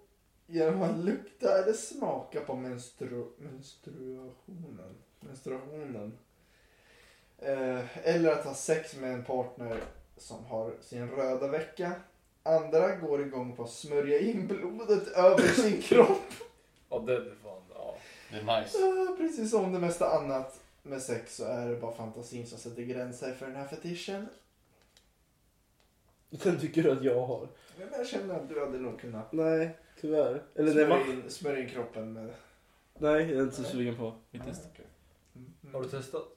Speaker 4: genom att lukta eller smaka på menstru- menstruationen. menstruationen. Eh, eller att ha sex med en partner som har sin röda vecka. Andra går igång på att smörja in blodet över sin kropp.
Speaker 6: Ja, den är fan... Ja.
Speaker 3: Det är nice.
Speaker 4: Eh, Precis som det mesta annat med sex så är det bara fantasin som sätter gränser för den här fetischen.
Speaker 1: Den tycker du att jag har?
Speaker 4: Men jag känner att du hade nog kunnat
Speaker 1: Nej, tyvärr. Eller nej, va?
Speaker 4: smörja in, smörja in kroppen med...
Speaker 1: Nej, jag är inte så sugen på faktiskt.
Speaker 4: Okej.
Speaker 6: Har du testat?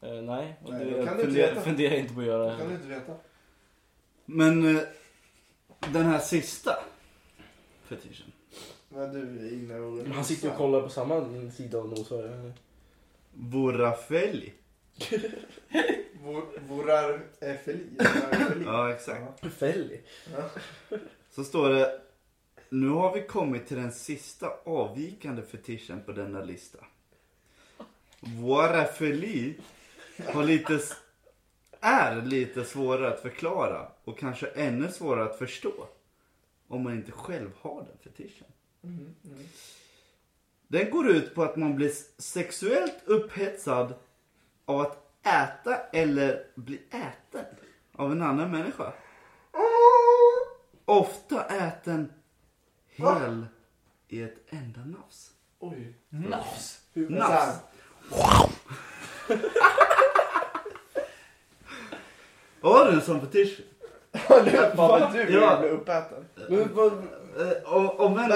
Speaker 1: Eh, nej, och
Speaker 4: Nej,
Speaker 1: det
Speaker 4: då kan du inte
Speaker 1: funderar,
Speaker 4: veta.
Speaker 1: funderar jag inte på att göra
Speaker 4: Det Mm. kan du
Speaker 1: heller.
Speaker 4: inte veta.
Speaker 2: Men eh, den här sista fetischen.
Speaker 4: Men du är inne och...
Speaker 1: Han sitter och kollar på samma sida och nosar. eller?
Speaker 2: Vorafeli.
Speaker 4: Vår- Vårar är feli. vårar feli.
Speaker 2: Ja, exakt.
Speaker 1: Fälg.
Speaker 2: Så står det. Nu har vi kommit till den sista avvikande fetischen på denna lista. Vorafeli har lite, s- är lite svårare att förklara och kanske ännu svårare att förstå. Om man inte själv har den fetischen.
Speaker 4: Mm, mm.
Speaker 2: Den går ut på att man blir sexuellt upphetsad av att äta eller bli äten av en annan människa. Ofta äten hel i ett enda nafs.
Speaker 4: Oj.
Speaker 3: Nafs.
Speaker 4: Hur
Speaker 2: Nafs.
Speaker 4: Nafs.
Speaker 2: Har du en sån fetisch?
Speaker 4: Vad du
Speaker 2: Ja.
Speaker 4: ja. blev uppäten.
Speaker 1: Men vad...
Speaker 2: Eh, Om, om, en,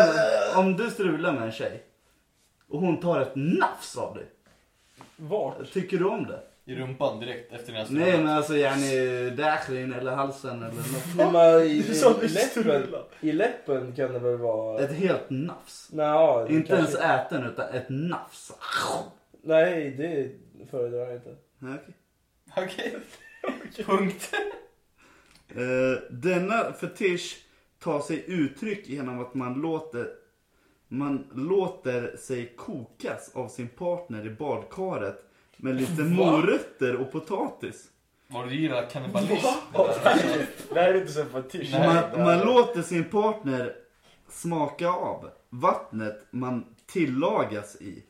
Speaker 2: om du strular med en tjej och hon tar ett nafs av dig,
Speaker 1: Vart?
Speaker 2: tycker du om det?
Speaker 3: I rumpan direkt efter den här
Speaker 2: Nej men alltså yani däkrin eller halsen eller något.
Speaker 1: Men man, i,
Speaker 6: Du sa att
Speaker 1: i,
Speaker 6: vi
Speaker 1: läppen,
Speaker 6: strular.
Speaker 1: I läppen kan det väl vara...
Speaker 2: Ett helt nafs.
Speaker 1: Nja, det
Speaker 2: Inte ens
Speaker 1: kanske-
Speaker 2: äten utan ett nafs.
Speaker 1: Nej, det föredrar jag inte.
Speaker 2: Ja, okej.
Speaker 3: Okej. Punkt.
Speaker 2: Eh, denna fetisch tar sig uttryck genom att man låter, man låter sig kokas av sin partner i badkaret med lite morötter och potatis.
Speaker 3: Var det ju där kannibalism?
Speaker 6: Det här är inte så en fetisch.
Speaker 3: Nej,
Speaker 2: man, man låter sin partner smaka av vattnet man tillagas i.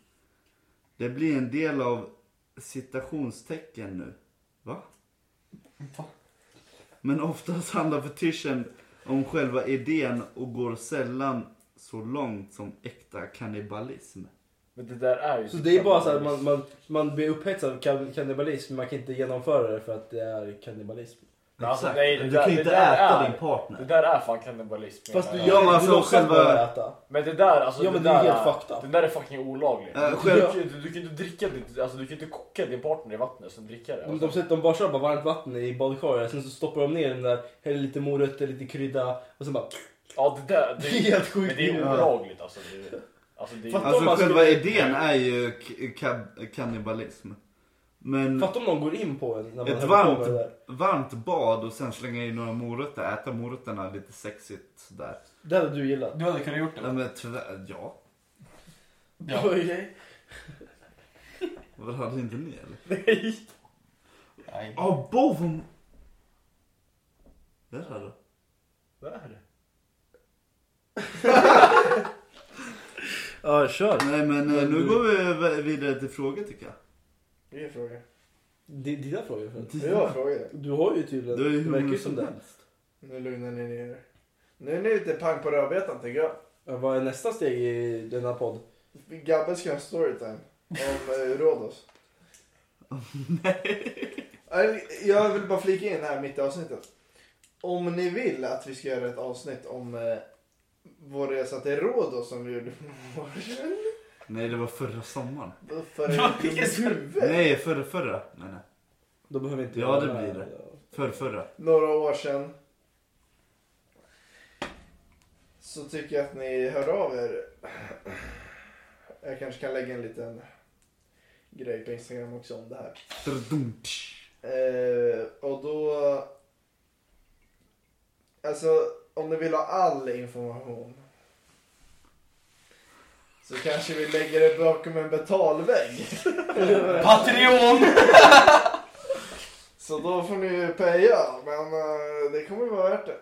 Speaker 2: Det blir en del av citationstecken nu. Va?
Speaker 3: Va?
Speaker 2: Men oftast handlar fetischen om själva idén och går sällan så långt som äkta kannibalism.
Speaker 6: Men det där är ju...
Speaker 1: Så det är bara så här, man, man, man blir upphetsad av kan- kannibalism men man kan inte genomföra det för att det är kannibalism.
Speaker 6: Nej, alltså, nej, det
Speaker 2: du
Speaker 6: där-
Speaker 2: kan
Speaker 6: det
Speaker 2: ju inte
Speaker 6: där
Speaker 2: äta
Speaker 6: är-
Speaker 2: din
Speaker 6: Det
Speaker 2: partner.
Speaker 6: där är fan kannibalism.
Speaker 1: Fast du,
Speaker 6: menar
Speaker 1: gör
Speaker 6: jag.
Speaker 2: Ja, men
Speaker 1: ja, du
Speaker 2: alltså
Speaker 1: låtsas
Speaker 2: själva-
Speaker 1: bara äta.
Speaker 6: Men det där, alltså
Speaker 1: Ja, men
Speaker 6: det
Speaker 1: det är
Speaker 6: där
Speaker 1: helt fucked up.
Speaker 6: Den där är fucking olaglig.
Speaker 2: Äh,
Speaker 6: du,
Speaker 2: själv-
Speaker 6: du, kan ju- du, kan ju inte dricka ditt, alltså du kan ju inte koka din partner i vattnet alltså. och sen dricka det.
Speaker 1: De, de, sätter- de bara kör bara varmt vatten i badkaret, sen så stoppar de ner den där, häller lite morötter, lite krydda och sen bara...
Speaker 6: ja det där, det,
Speaker 1: Det är helt sjukt.
Speaker 6: Men det är olagligt alltså. Det, är- alltså det, är-
Speaker 1: Fattar
Speaker 2: Alltså
Speaker 1: man skulle-
Speaker 2: själva idén är ju k- ka- kannibalism. Men
Speaker 1: Fatta om någon går in på en när man
Speaker 2: ett
Speaker 1: håller på med det
Speaker 2: varmt,
Speaker 1: där.
Speaker 2: varmt bad och sen slänga i några morötter, äta morötterna lite sexigt där.
Speaker 1: Det hade du gillat.
Speaker 3: Du hade kunnat gjort
Speaker 2: Ja
Speaker 5: Mm.
Speaker 3: det.
Speaker 2: men tyvärr, ja.
Speaker 3: Ja.
Speaker 1: Okej.
Speaker 2: Vad hade inte ni eller?
Speaker 3: Nej.
Speaker 2: Ja, oh, bov! Där hade du.
Speaker 6: Vad är det?
Speaker 1: Ja, kör.
Speaker 2: Nej men eh, nu går vi v- vidare till frågor tycker jag.
Speaker 4: Det är frågan.
Speaker 1: D- dina frågor för
Speaker 4: Det var frågan.
Speaker 1: Du har ju tydligen...
Speaker 2: Du är ju
Speaker 1: det
Speaker 2: hur
Speaker 1: verkar
Speaker 2: många
Speaker 1: ju som
Speaker 2: som
Speaker 1: det.
Speaker 2: helst.
Speaker 4: Nu lugnar ni ner er. Nu är ni lite pang på rödbetan tycker jag.
Speaker 1: Ja, Vad är nästa steg i denna podd?
Speaker 4: Gabbe ska ha en storytime om eh, Rhodos. Nej. Äh, Jag vill bara flika in här mitt i avsnittet. Om ni vill att vi ska göra ett avsnitt om eh, vår resa till Rhodos som vi gjorde för några år sedan.
Speaker 2: Nej det var förra sommaren.
Speaker 4: Vad fan är det i ditt huvud?
Speaker 2: Nej förra förra. Nej nej.
Speaker 1: Då behöver inte
Speaker 2: Ja,
Speaker 1: jag
Speaker 2: det
Speaker 1: vara
Speaker 2: blir
Speaker 1: med.
Speaker 2: det. Förr förra.
Speaker 4: Några år sedan. Så tycker jag att ni hör av er. Jag kanske kan lägga en liten grej på Instagram också om det här.
Speaker 2: Tr-dum-tsch.
Speaker 4: Eh, och då Alltså, om ni vill ha all information. Så kanske vi lägger det bakom en betalvägg.
Speaker 3: Patreon!
Speaker 4: Så då får ni ju paya. Men eh, det kommer vara värt det.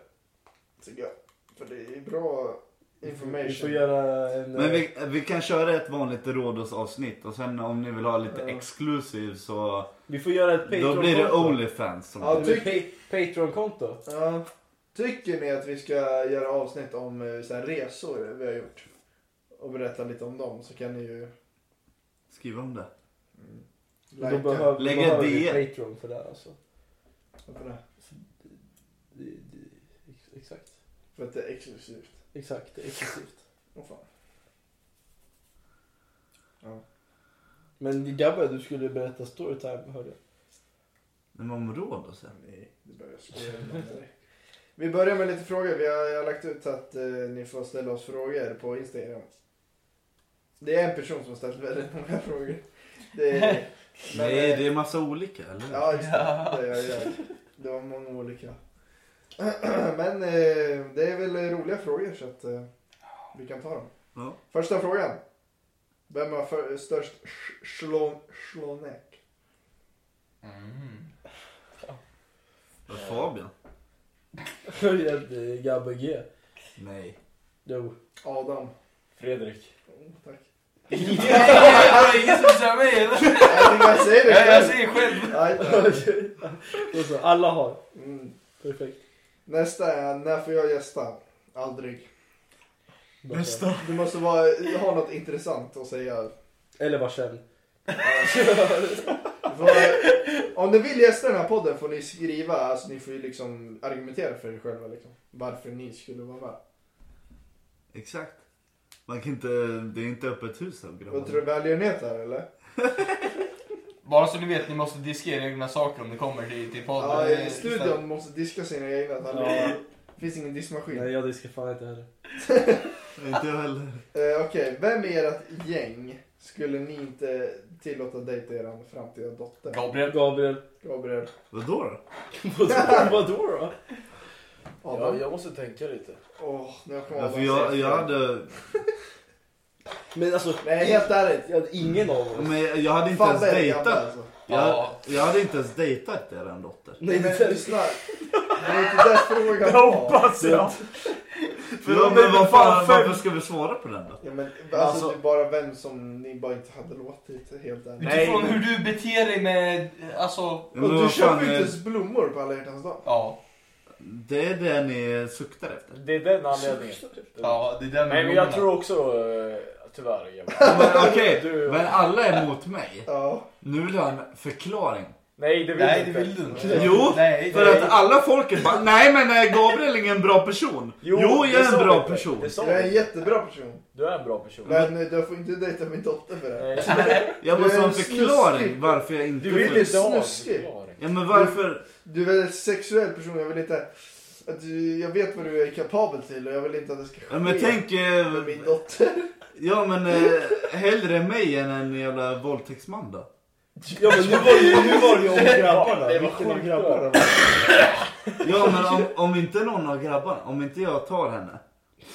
Speaker 4: Tycker jag. För det är bra
Speaker 1: Vi får
Speaker 4: information.
Speaker 1: göra en... eh,
Speaker 2: Men vi, vi kan köra ett vanligt Rhodos avsnitt och sen om ni vill ha lite
Speaker 1: Ja.
Speaker 2: exklusiv så
Speaker 1: Vi får göra ett Patreon-konto.
Speaker 2: då blir det Onlyfans. Som
Speaker 4: Ja,
Speaker 1: Nej, men pa- Patreon-konto.
Speaker 4: Ja. Tycker ni att vi ska göra avsnitt om eh, så här resor vi har gjort? Och berätta lite om dem så kan ni ju mm,
Speaker 2: Skriv om det.
Speaker 1: Då
Speaker 4: likea.
Speaker 1: behöver,
Speaker 2: Lägga E.
Speaker 1: behöver vi
Speaker 2: det.
Speaker 1: Patreon för det här, alltså.
Speaker 4: Varför det?
Speaker 1: Det, det, ex- exakt.
Speaker 4: För att det är exklusivt.
Speaker 1: Exakt, det är exklusivt.
Speaker 4: Åh fan.
Speaker 1: Men Gabbe, du skulle berätta storytime hörde jag.
Speaker 2: Men om Rhodos ja.
Speaker 4: Nej, det börjar skoja med dig. Vi börjar med lite frågor. Vi har, jag har lagt ut att eh, ni får ställa oss frågor på Instagram. Det är en person som har ställt väldigt många frågor. Det är, Men,
Speaker 2: Nej
Speaker 4: eh,
Speaker 2: det är massa olika eller?
Speaker 4: ja, just det. Det, gör jag. det var många olika. Men eh, det är väl roliga frågor så att eh, vi kan ta dem.
Speaker 2: Ja.
Speaker 4: Första frågan. Vem har för, störst sch- schlon- schlonäck?
Speaker 3: Mm.
Speaker 2: Och Fabian?
Speaker 1: Hörde eh, Gabbe G.
Speaker 2: Nej.
Speaker 1: Jo.
Speaker 4: Adam.
Speaker 5: Fredrik.
Speaker 4: Mm, Tack.
Speaker 3: Ingen som kör mig eller?
Speaker 4: Jag tycker jag säger det
Speaker 3: Jag, jag
Speaker 4: själv.
Speaker 3: säger själv.
Speaker 4: Nej, tack.
Speaker 1: Okej. Då så, Alltså, alla har.
Speaker 4: Mm.
Speaker 1: Perfekt.
Speaker 4: Nästa är, när får jag gästa? Aldrig.
Speaker 1: Bra.
Speaker 4: Du måste vara, ha något intressant att säga.
Speaker 1: Eller var känd.
Speaker 4: För, om ni vill gästa den här podden får ni skriva, alltså ni får ju liksom argumentera för er själva liksom. Varför ni skulle vara med.
Speaker 2: Exakt. Man kan inte, det är inte öppet hus av
Speaker 4: Vad tror du,
Speaker 2: grabbarna.
Speaker 4: väljer ni det här eller?
Speaker 3: Bara så ni vet, ni måste diskera egna saker om ni kommer till, till podden.
Speaker 4: Ja,
Speaker 3: Det är-
Speaker 4: studion måste diska sina egna tallrikar.
Speaker 1: Ja.
Speaker 4: Det finns ingen diskmaskin.
Speaker 1: Nej, jag diskar fan inte heller.
Speaker 2: Inte jag heller.
Speaker 4: Eh, Okej, vem i ert gäng skulle ni inte tillåta dejta er framtida dotter?
Speaker 3: Gabriel.
Speaker 1: Gabriel.
Speaker 4: Gabriel.
Speaker 2: Vadå då?
Speaker 1: Vadå då?
Speaker 4: Adam.
Speaker 5: jag måste tänka lite.
Speaker 4: Åh, nu kommer
Speaker 2: Ja, för
Speaker 4: Adam
Speaker 2: Alltså, jag,
Speaker 4: säga
Speaker 2: jag
Speaker 4: fel.
Speaker 2: hade,
Speaker 1: Men alltså,
Speaker 4: Nej, helt ärligt.
Speaker 1: jag hade ingen av oss.
Speaker 2: men jag hade inte
Speaker 4: Fan,
Speaker 2: ens
Speaker 4: vad är det gamla,
Speaker 2: dejtat.
Speaker 4: alltså.
Speaker 2: Jag,
Speaker 3: Ja.
Speaker 2: jag hade inte ens dejtat er dotter.
Speaker 1: Nej,
Speaker 4: men
Speaker 1: det-
Speaker 4: lyssna. Det är inte det frågan var.
Speaker 6: jag.
Speaker 2: Ja, men vad fan, varför ska vi svara på den då?
Speaker 4: Ja, men, alltså,
Speaker 1: Alltså-
Speaker 4: det är bara vem som ni bara inte hade låtit, helt ärligt.
Speaker 2: Nej.
Speaker 3: Utifrån hur du beter dig med, alltså,
Speaker 2: Men
Speaker 4: Och du
Speaker 2: vad
Speaker 4: köper
Speaker 2: fan,
Speaker 4: ju inte
Speaker 2: eh,
Speaker 4: ens blommor på alla hjärtans dag.
Speaker 3: ja.
Speaker 2: Det är det ni suktar efter.
Speaker 5: Det är den anledningen.
Speaker 3: Ja, det är den
Speaker 5: Nej men jag tror också, eh, tyvärr Emil.
Speaker 2: Ja, Men, okej,
Speaker 5: Du-
Speaker 2: men alla är mot mig.
Speaker 4: Ja.
Speaker 2: Nu vill jag ha en förklaring.
Speaker 5: Nej det vill
Speaker 3: Nej,
Speaker 5: du
Speaker 3: det
Speaker 5: inte.
Speaker 3: vill du inte.
Speaker 2: Jo,
Speaker 3: Nej,
Speaker 2: För
Speaker 3: nej.
Speaker 2: att alla folket bara, nej men är Gabriel är ingen bra person? Jo,
Speaker 5: det
Speaker 2: jag är
Speaker 5: sa
Speaker 2: en
Speaker 5: vi
Speaker 2: bra
Speaker 5: inte.
Speaker 2: person.
Speaker 5: Det sa
Speaker 4: Jag är en
Speaker 5: vi.
Speaker 4: jättebra person.
Speaker 5: Du är en bra person.
Speaker 4: Men eh, du får inte dejta min dotter för det. här.
Speaker 5: Nej.
Speaker 2: Jag
Speaker 4: Du
Speaker 2: måste
Speaker 4: är
Speaker 2: ha en
Speaker 4: en
Speaker 2: förklaring
Speaker 4: snuskig.
Speaker 2: varför jag inte...
Speaker 5: Du vill
Speaker 4: är
Speaker 5: inte ha en
Speaker 4: snuskig.
Speaker 5: förklaring.
Speaker 2: Ja men varför?
Speaker 4: Du är en väldigt sexuell person. Jag vill inte... Att du, jag vet vad du är kapabel till och jag vill inte att det ska ske
Speaker 2: Ja, men tänk... eh,
Speaker 4: med min dotter.
Speaker 2: Ja men eh, hellre mig än en jävla våldtäktsman då.
Speaker 1: Ja men nu var det ju, nu var det ju om grabbarna.
Speaker 5: Det var
Speaker 1: Vilken av
Speaker 5: sjukt
Speaker 1: grabbarna
Speaker 5: bra.
Speaker 1: var
Speaker 2: Ja men om, om inte någon av grabbarna, om inte jag tar henne.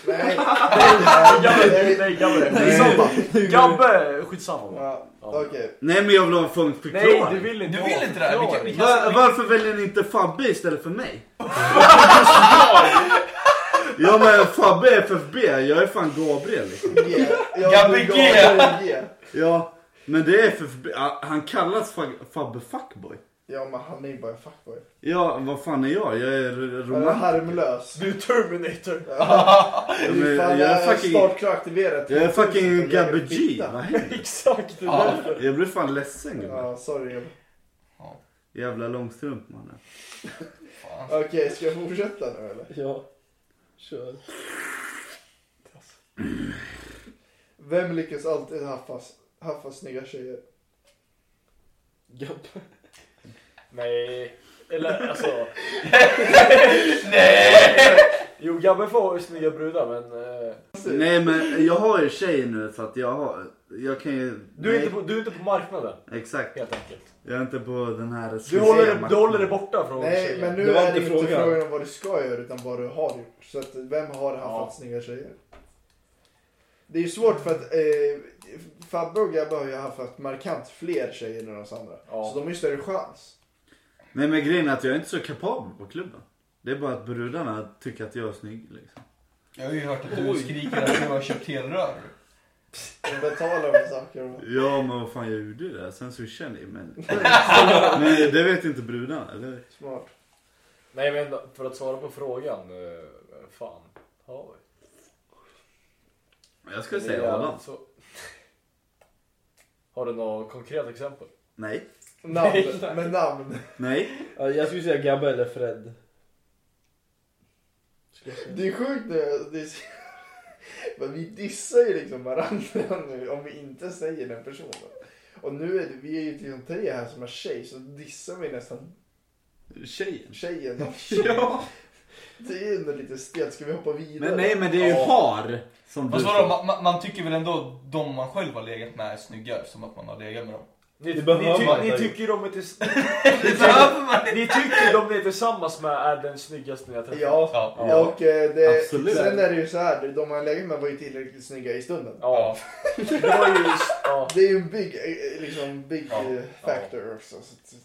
Speaker 4: Nej.
Speaker 5: Gabbe,
Speaker 4: Nej.
Speaker 5: nej Gabbe.
Speaker 2: Nej.
Speaker 4: Samma.
Speaker 5: Gabbe, skitsamma.
Speaker 4: Ja, Okej.
Speaker 2: Nej men jag vill ha en full
Speaker 5: Nej
Speaker 2: förklaring.
Speaker 5: du vill inte
Speaker 3: Du
Speaker 5: ha
Speaker 3: vill
Speaker 5: en
Speaker 3: inte det här? Vi kan- vi
Speaker 5: förklaring.
Speaker 2: Va-
Speaker 3: kan-
Speaker 2: varför väljer ni inte Fabbe istället för mig? ja men Fabbe är FFB, jag är fan Gabriel liksom.
Speaker 4: G. Ja,
Speaker 3: Gabbe
Speaker 4: du
Speaker 3: G.
Speaker 4: gav G.
Speaker 2: Ja, men det är FFB, Ah, han kallas fa- Fabbe Fuckboy.
Speaker 4: Ja, men han är ju bara en fuckboy.
Speaker 2: Ja, vad fan är jag? Jag är r-
Speaker 4: Han är
Speaker 2: romantiker.
Speaker 4: harmlös.
Speaker 5: Du är Terminator.
Speaker 2: Ja,
Speaker 4: Du
Speaker 2: men
Speaker 4: är fan
Speaker 2: Jag är fucking,
Speaker 4: startklar aktiverat.
Speaker 2: jag är fucking
Speaker 4: Tusen
Speaker 2: Gabbe G.
Speaker 4: fitta.
Speaker 2: Vad händer?
Speaker 5: Exakt. det
Speaker 3: Ja.
Speaker 5: där.
Speaker 2: Jag blir fan ledsen gubben.
Speaker 4: Ja, sorry. Gabbe.
Speaker 2: Jävla långstrump mannen.
Speaker 3: Fan.
Speaker 4: Okej, ska jag fortsätta nu eller?
Speaker 1: Ja. Kör.
Speaker 4: Vem lyckas alltid haffa, haffa snygga tjejer?
Speaker 1: Gabbe.
Speaker 5: Nej. Eller alltså.
Speaker 3: Nej!
Speaker 5: Jo Gabbe får snygga brudar men. eh,
Speaker 2: Nej men jag har ju tjej nu för att jag har, jag kan ju...
Speaker 7: Du är,
Speaker 2: nej,
Speaker 7: inte på, du är inte på marknaden
Speaker 2: Exakt.
Speaker 7: helt enkelt.
Speaker 2: Jag är inte på den här...
Speaker 7: Du håller, du håller dig borta från
Speaker 4: Nej,
Speaker 7: tjejer.
Speaker 4: men
Speaker 1: Det
Speaker 4: nu
Speaker 1: var
Speaker 4: är det
Speaker 1: inte
Speaker 4: inte
Speaker 1: frågan.
Speaker 4: frågan. om vad du ska göra utan vad du har gjort. Så att, vem har haft snygga tjejer? Det är ju svårt för att eh, Fabbe och Gabbe har ju haft markant fler tjejer än oss andra.
Speaker 5: Ja.
Speaker 4: Så de har ju större chans.
Speaker 2: Nej men grejen är att jag är inte så kapabel på klubben. Det är bara att brudarna tycker att jag är snygg liksom.
Speaker 3: Jag har ju hört att du skriker att du har köpt helrör.
Speaker 4: De betalar för saker.
Speaker 2: Ja men vad fan jag gjorde ju det. där. Sen swishade ni men... Nej det vet inte brudarna. Eller?
Speaker 4: Smart.
Speaker 7: Nej men för att svara på frågan. eh, Fan. Har vi?
Speaker 2: Jag skulle
Speaker 7: Det är
Speaker 2: säga
Speaker 7: jävligt
Speaker 2: Adam.
Speaker 7: så- Har du något konkret exempel?
Speaker 2: Nej.
Speaker 4: Namn. Med namn.
Speaker 2: Nej.
Speaker 1: Ja, Jag skulle säga Gabbe eller Fred.
Speaker 4: Det är sjukt nu. Det är... så- Men vi dissar ju liksom varandra nu om vi inte säger den personen. Och nu är det, vi är ju liksom tre här som är tjej så dissar vi nästan
Speaker 2: Tjejen.
Speaker 4: tjejen också.
Speaker 2: Ja.
Speaker 4: Det är ju ändå lite stelt. Ska vi hoppa vidare?
Speaker 2: Men nej men det är ju
Speaker 3: Ja.
Speaker 2: har. Som du
Speaker 3: Fast vadå,
Speaker 2: sa.
Speaker 3: man, man, man tycker väl ändå de man själv har legat med är snyggare, som att man har legat med dem.
Speaker 7: Ni,
Speaker 1: Det
Speaker 7: ni,
Speaker 1: behöver man
Speaker 7: ty,
Speaker 1: inte.
Speaker 7: ni tycker de är tills,
Speaker 3: Det behöver man inte!
Speaker 7: ni tycker de ni är tillsammans med är den snyggaste ni har träffat?
Speaker 4: Ja.
Speaker 3: Ja.
Speaker 7: Ja.
Speaker 4: Och eh, det,
Speaker 2: Absolut.
Speaker 4: sen är det ju så här, de man lägger med var ju tillräckligt snygga i stunden.
Speaker 7: ja. Det var ju... Ja.
Speaker 4: Det är ju en big, eh, liksom, big
Speaker 3: Ja,
Speaker 4: eh, factor också. Så, så,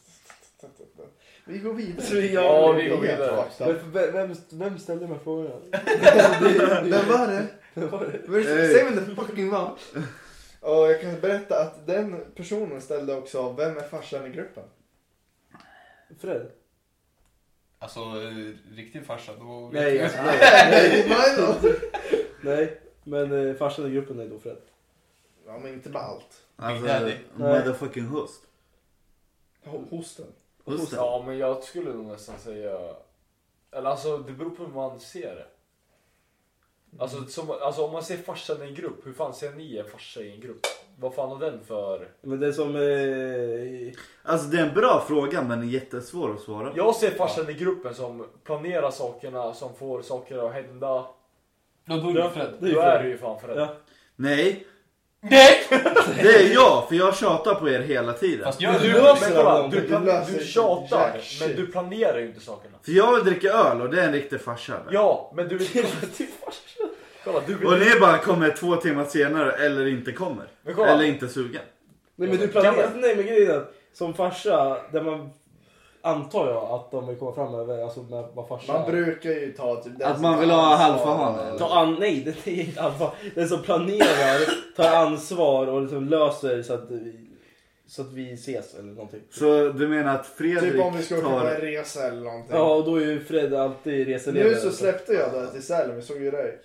Speaker 4: så, så, så. Vi går vidare.
Speaker 7: Ja, vi går vidare.
Speaker 4: Fakta.
Speaker 1: Vem, vem, vem ställde de här frågorna?
Speaker 4: Vem var det?
Speaker 1: Vem var det?
Speaker 4: Where's-
Speaker 2: Hey.
Speaker 4: Säg vem det fucking var. Och jag kan berätta att den personen ställde också, vem är farsan i gruppen?
Speaker 1: Fred?
Speaker 3: Alltså, eh, riktig farsa, då...
Speaker 1: Nej, alltså, nej.
Speaker 4: Nej, Milo.
Speaker 1: nej. Men eh, farsan i gruppen är då Fred.
Speaker 4: Ja, men inte med allt.
Speaker 2: Alltså,
Speaker 3: Big Daddy.
Speaker 2: motherfucking host.
Speaker 4: Ho- Hosten.
Speaker 2: Hosten.
Speaker 7: ja, men jag skulle nog nästan säga... Eller alltså, det beror på hur man ser det. Alltså, som, alltså om man ser farsan i en grupp, hur fan ser ni en farsa i en grupp? Vad fan har den för...
Speaker 1: Men det är som... Eh,
Speaker 2: Alltså det är en bra fråga men jättesvår att svara på.
Speaker 7: Jag ser farsan i gruppen som planerar sakerna, som får saker att hända.
Speaker 3: Då, då är det Fred.
Speaker 1: Det är ju
Speaker 7: Då
Speaker 1: Fred.
Speaker 7: är det ju fan Fred.
Speaker 1: Ja.
Speaker 2: Nej.
Speaker 3: Nej!
Speaker 2: Det är jag för jag tjatar på er hela tiden.
Speaker 3: Fast jag,
Speaker 7: Du,
Speaker 3: du,
Speaker 7: men kolla,
Speaker 1: dem.
Speaker 7: du,
Speaker 4: Du
Speaker 7: plan-
Speaker 4: löser
Speaker 7: du
Speaker 4: inte
Speaker 7: tjatar,
Speaker 4: jack shit.
Speaker 7: men du planerar ju inte sakerna.
Speaker 2: För jag vill dricka öl och det är en riktig farsa. där.
Speaker 7: Ja, men du vill...
Speaker 1: typ
Speaker 7: kolla, du
Speaker 2: Och
Speaker 7: vill...
Speaker 2: ni bara kommer två timmar senare eller inte kommer.
Speaker 7: Men kolla.
Speaker 2: Eller inte sugen.
Speaker 1: nej men du planerar... Nej men grejen är att som farsa, där man antar jag att de vill komma fram med, alltså med vad farsa
Speaker 4: Man
Speaker 1: är.
Speaker 4: brukar ju ta typ den
Speaker 2: Att
Speaker 4: som
Speaker 2: man vill
Speaker 4: tar
Speaker 2: ha
Speaker 4: ansvar.
Speaker 2: halvfahan, eller?
Speaker 1: Ta an, nej, det är inte ansvar. Den som planerar, tar ansvar och liksom löser så att, vi, så att vi ses eller någonting.
Speaker 2: Så du menar att
Speaker 4: Typ om vi
Speaker 2: Fredrik
Speaker 4: ska åka på en
Speaker 2: tar...
Speaker 4: resa eller någonting.
Speaker 1: Ja, och då är ju Fred alltid reseledare.
Speaker 4: Nu så släppte jag det till Sälen, vi såg ju dig.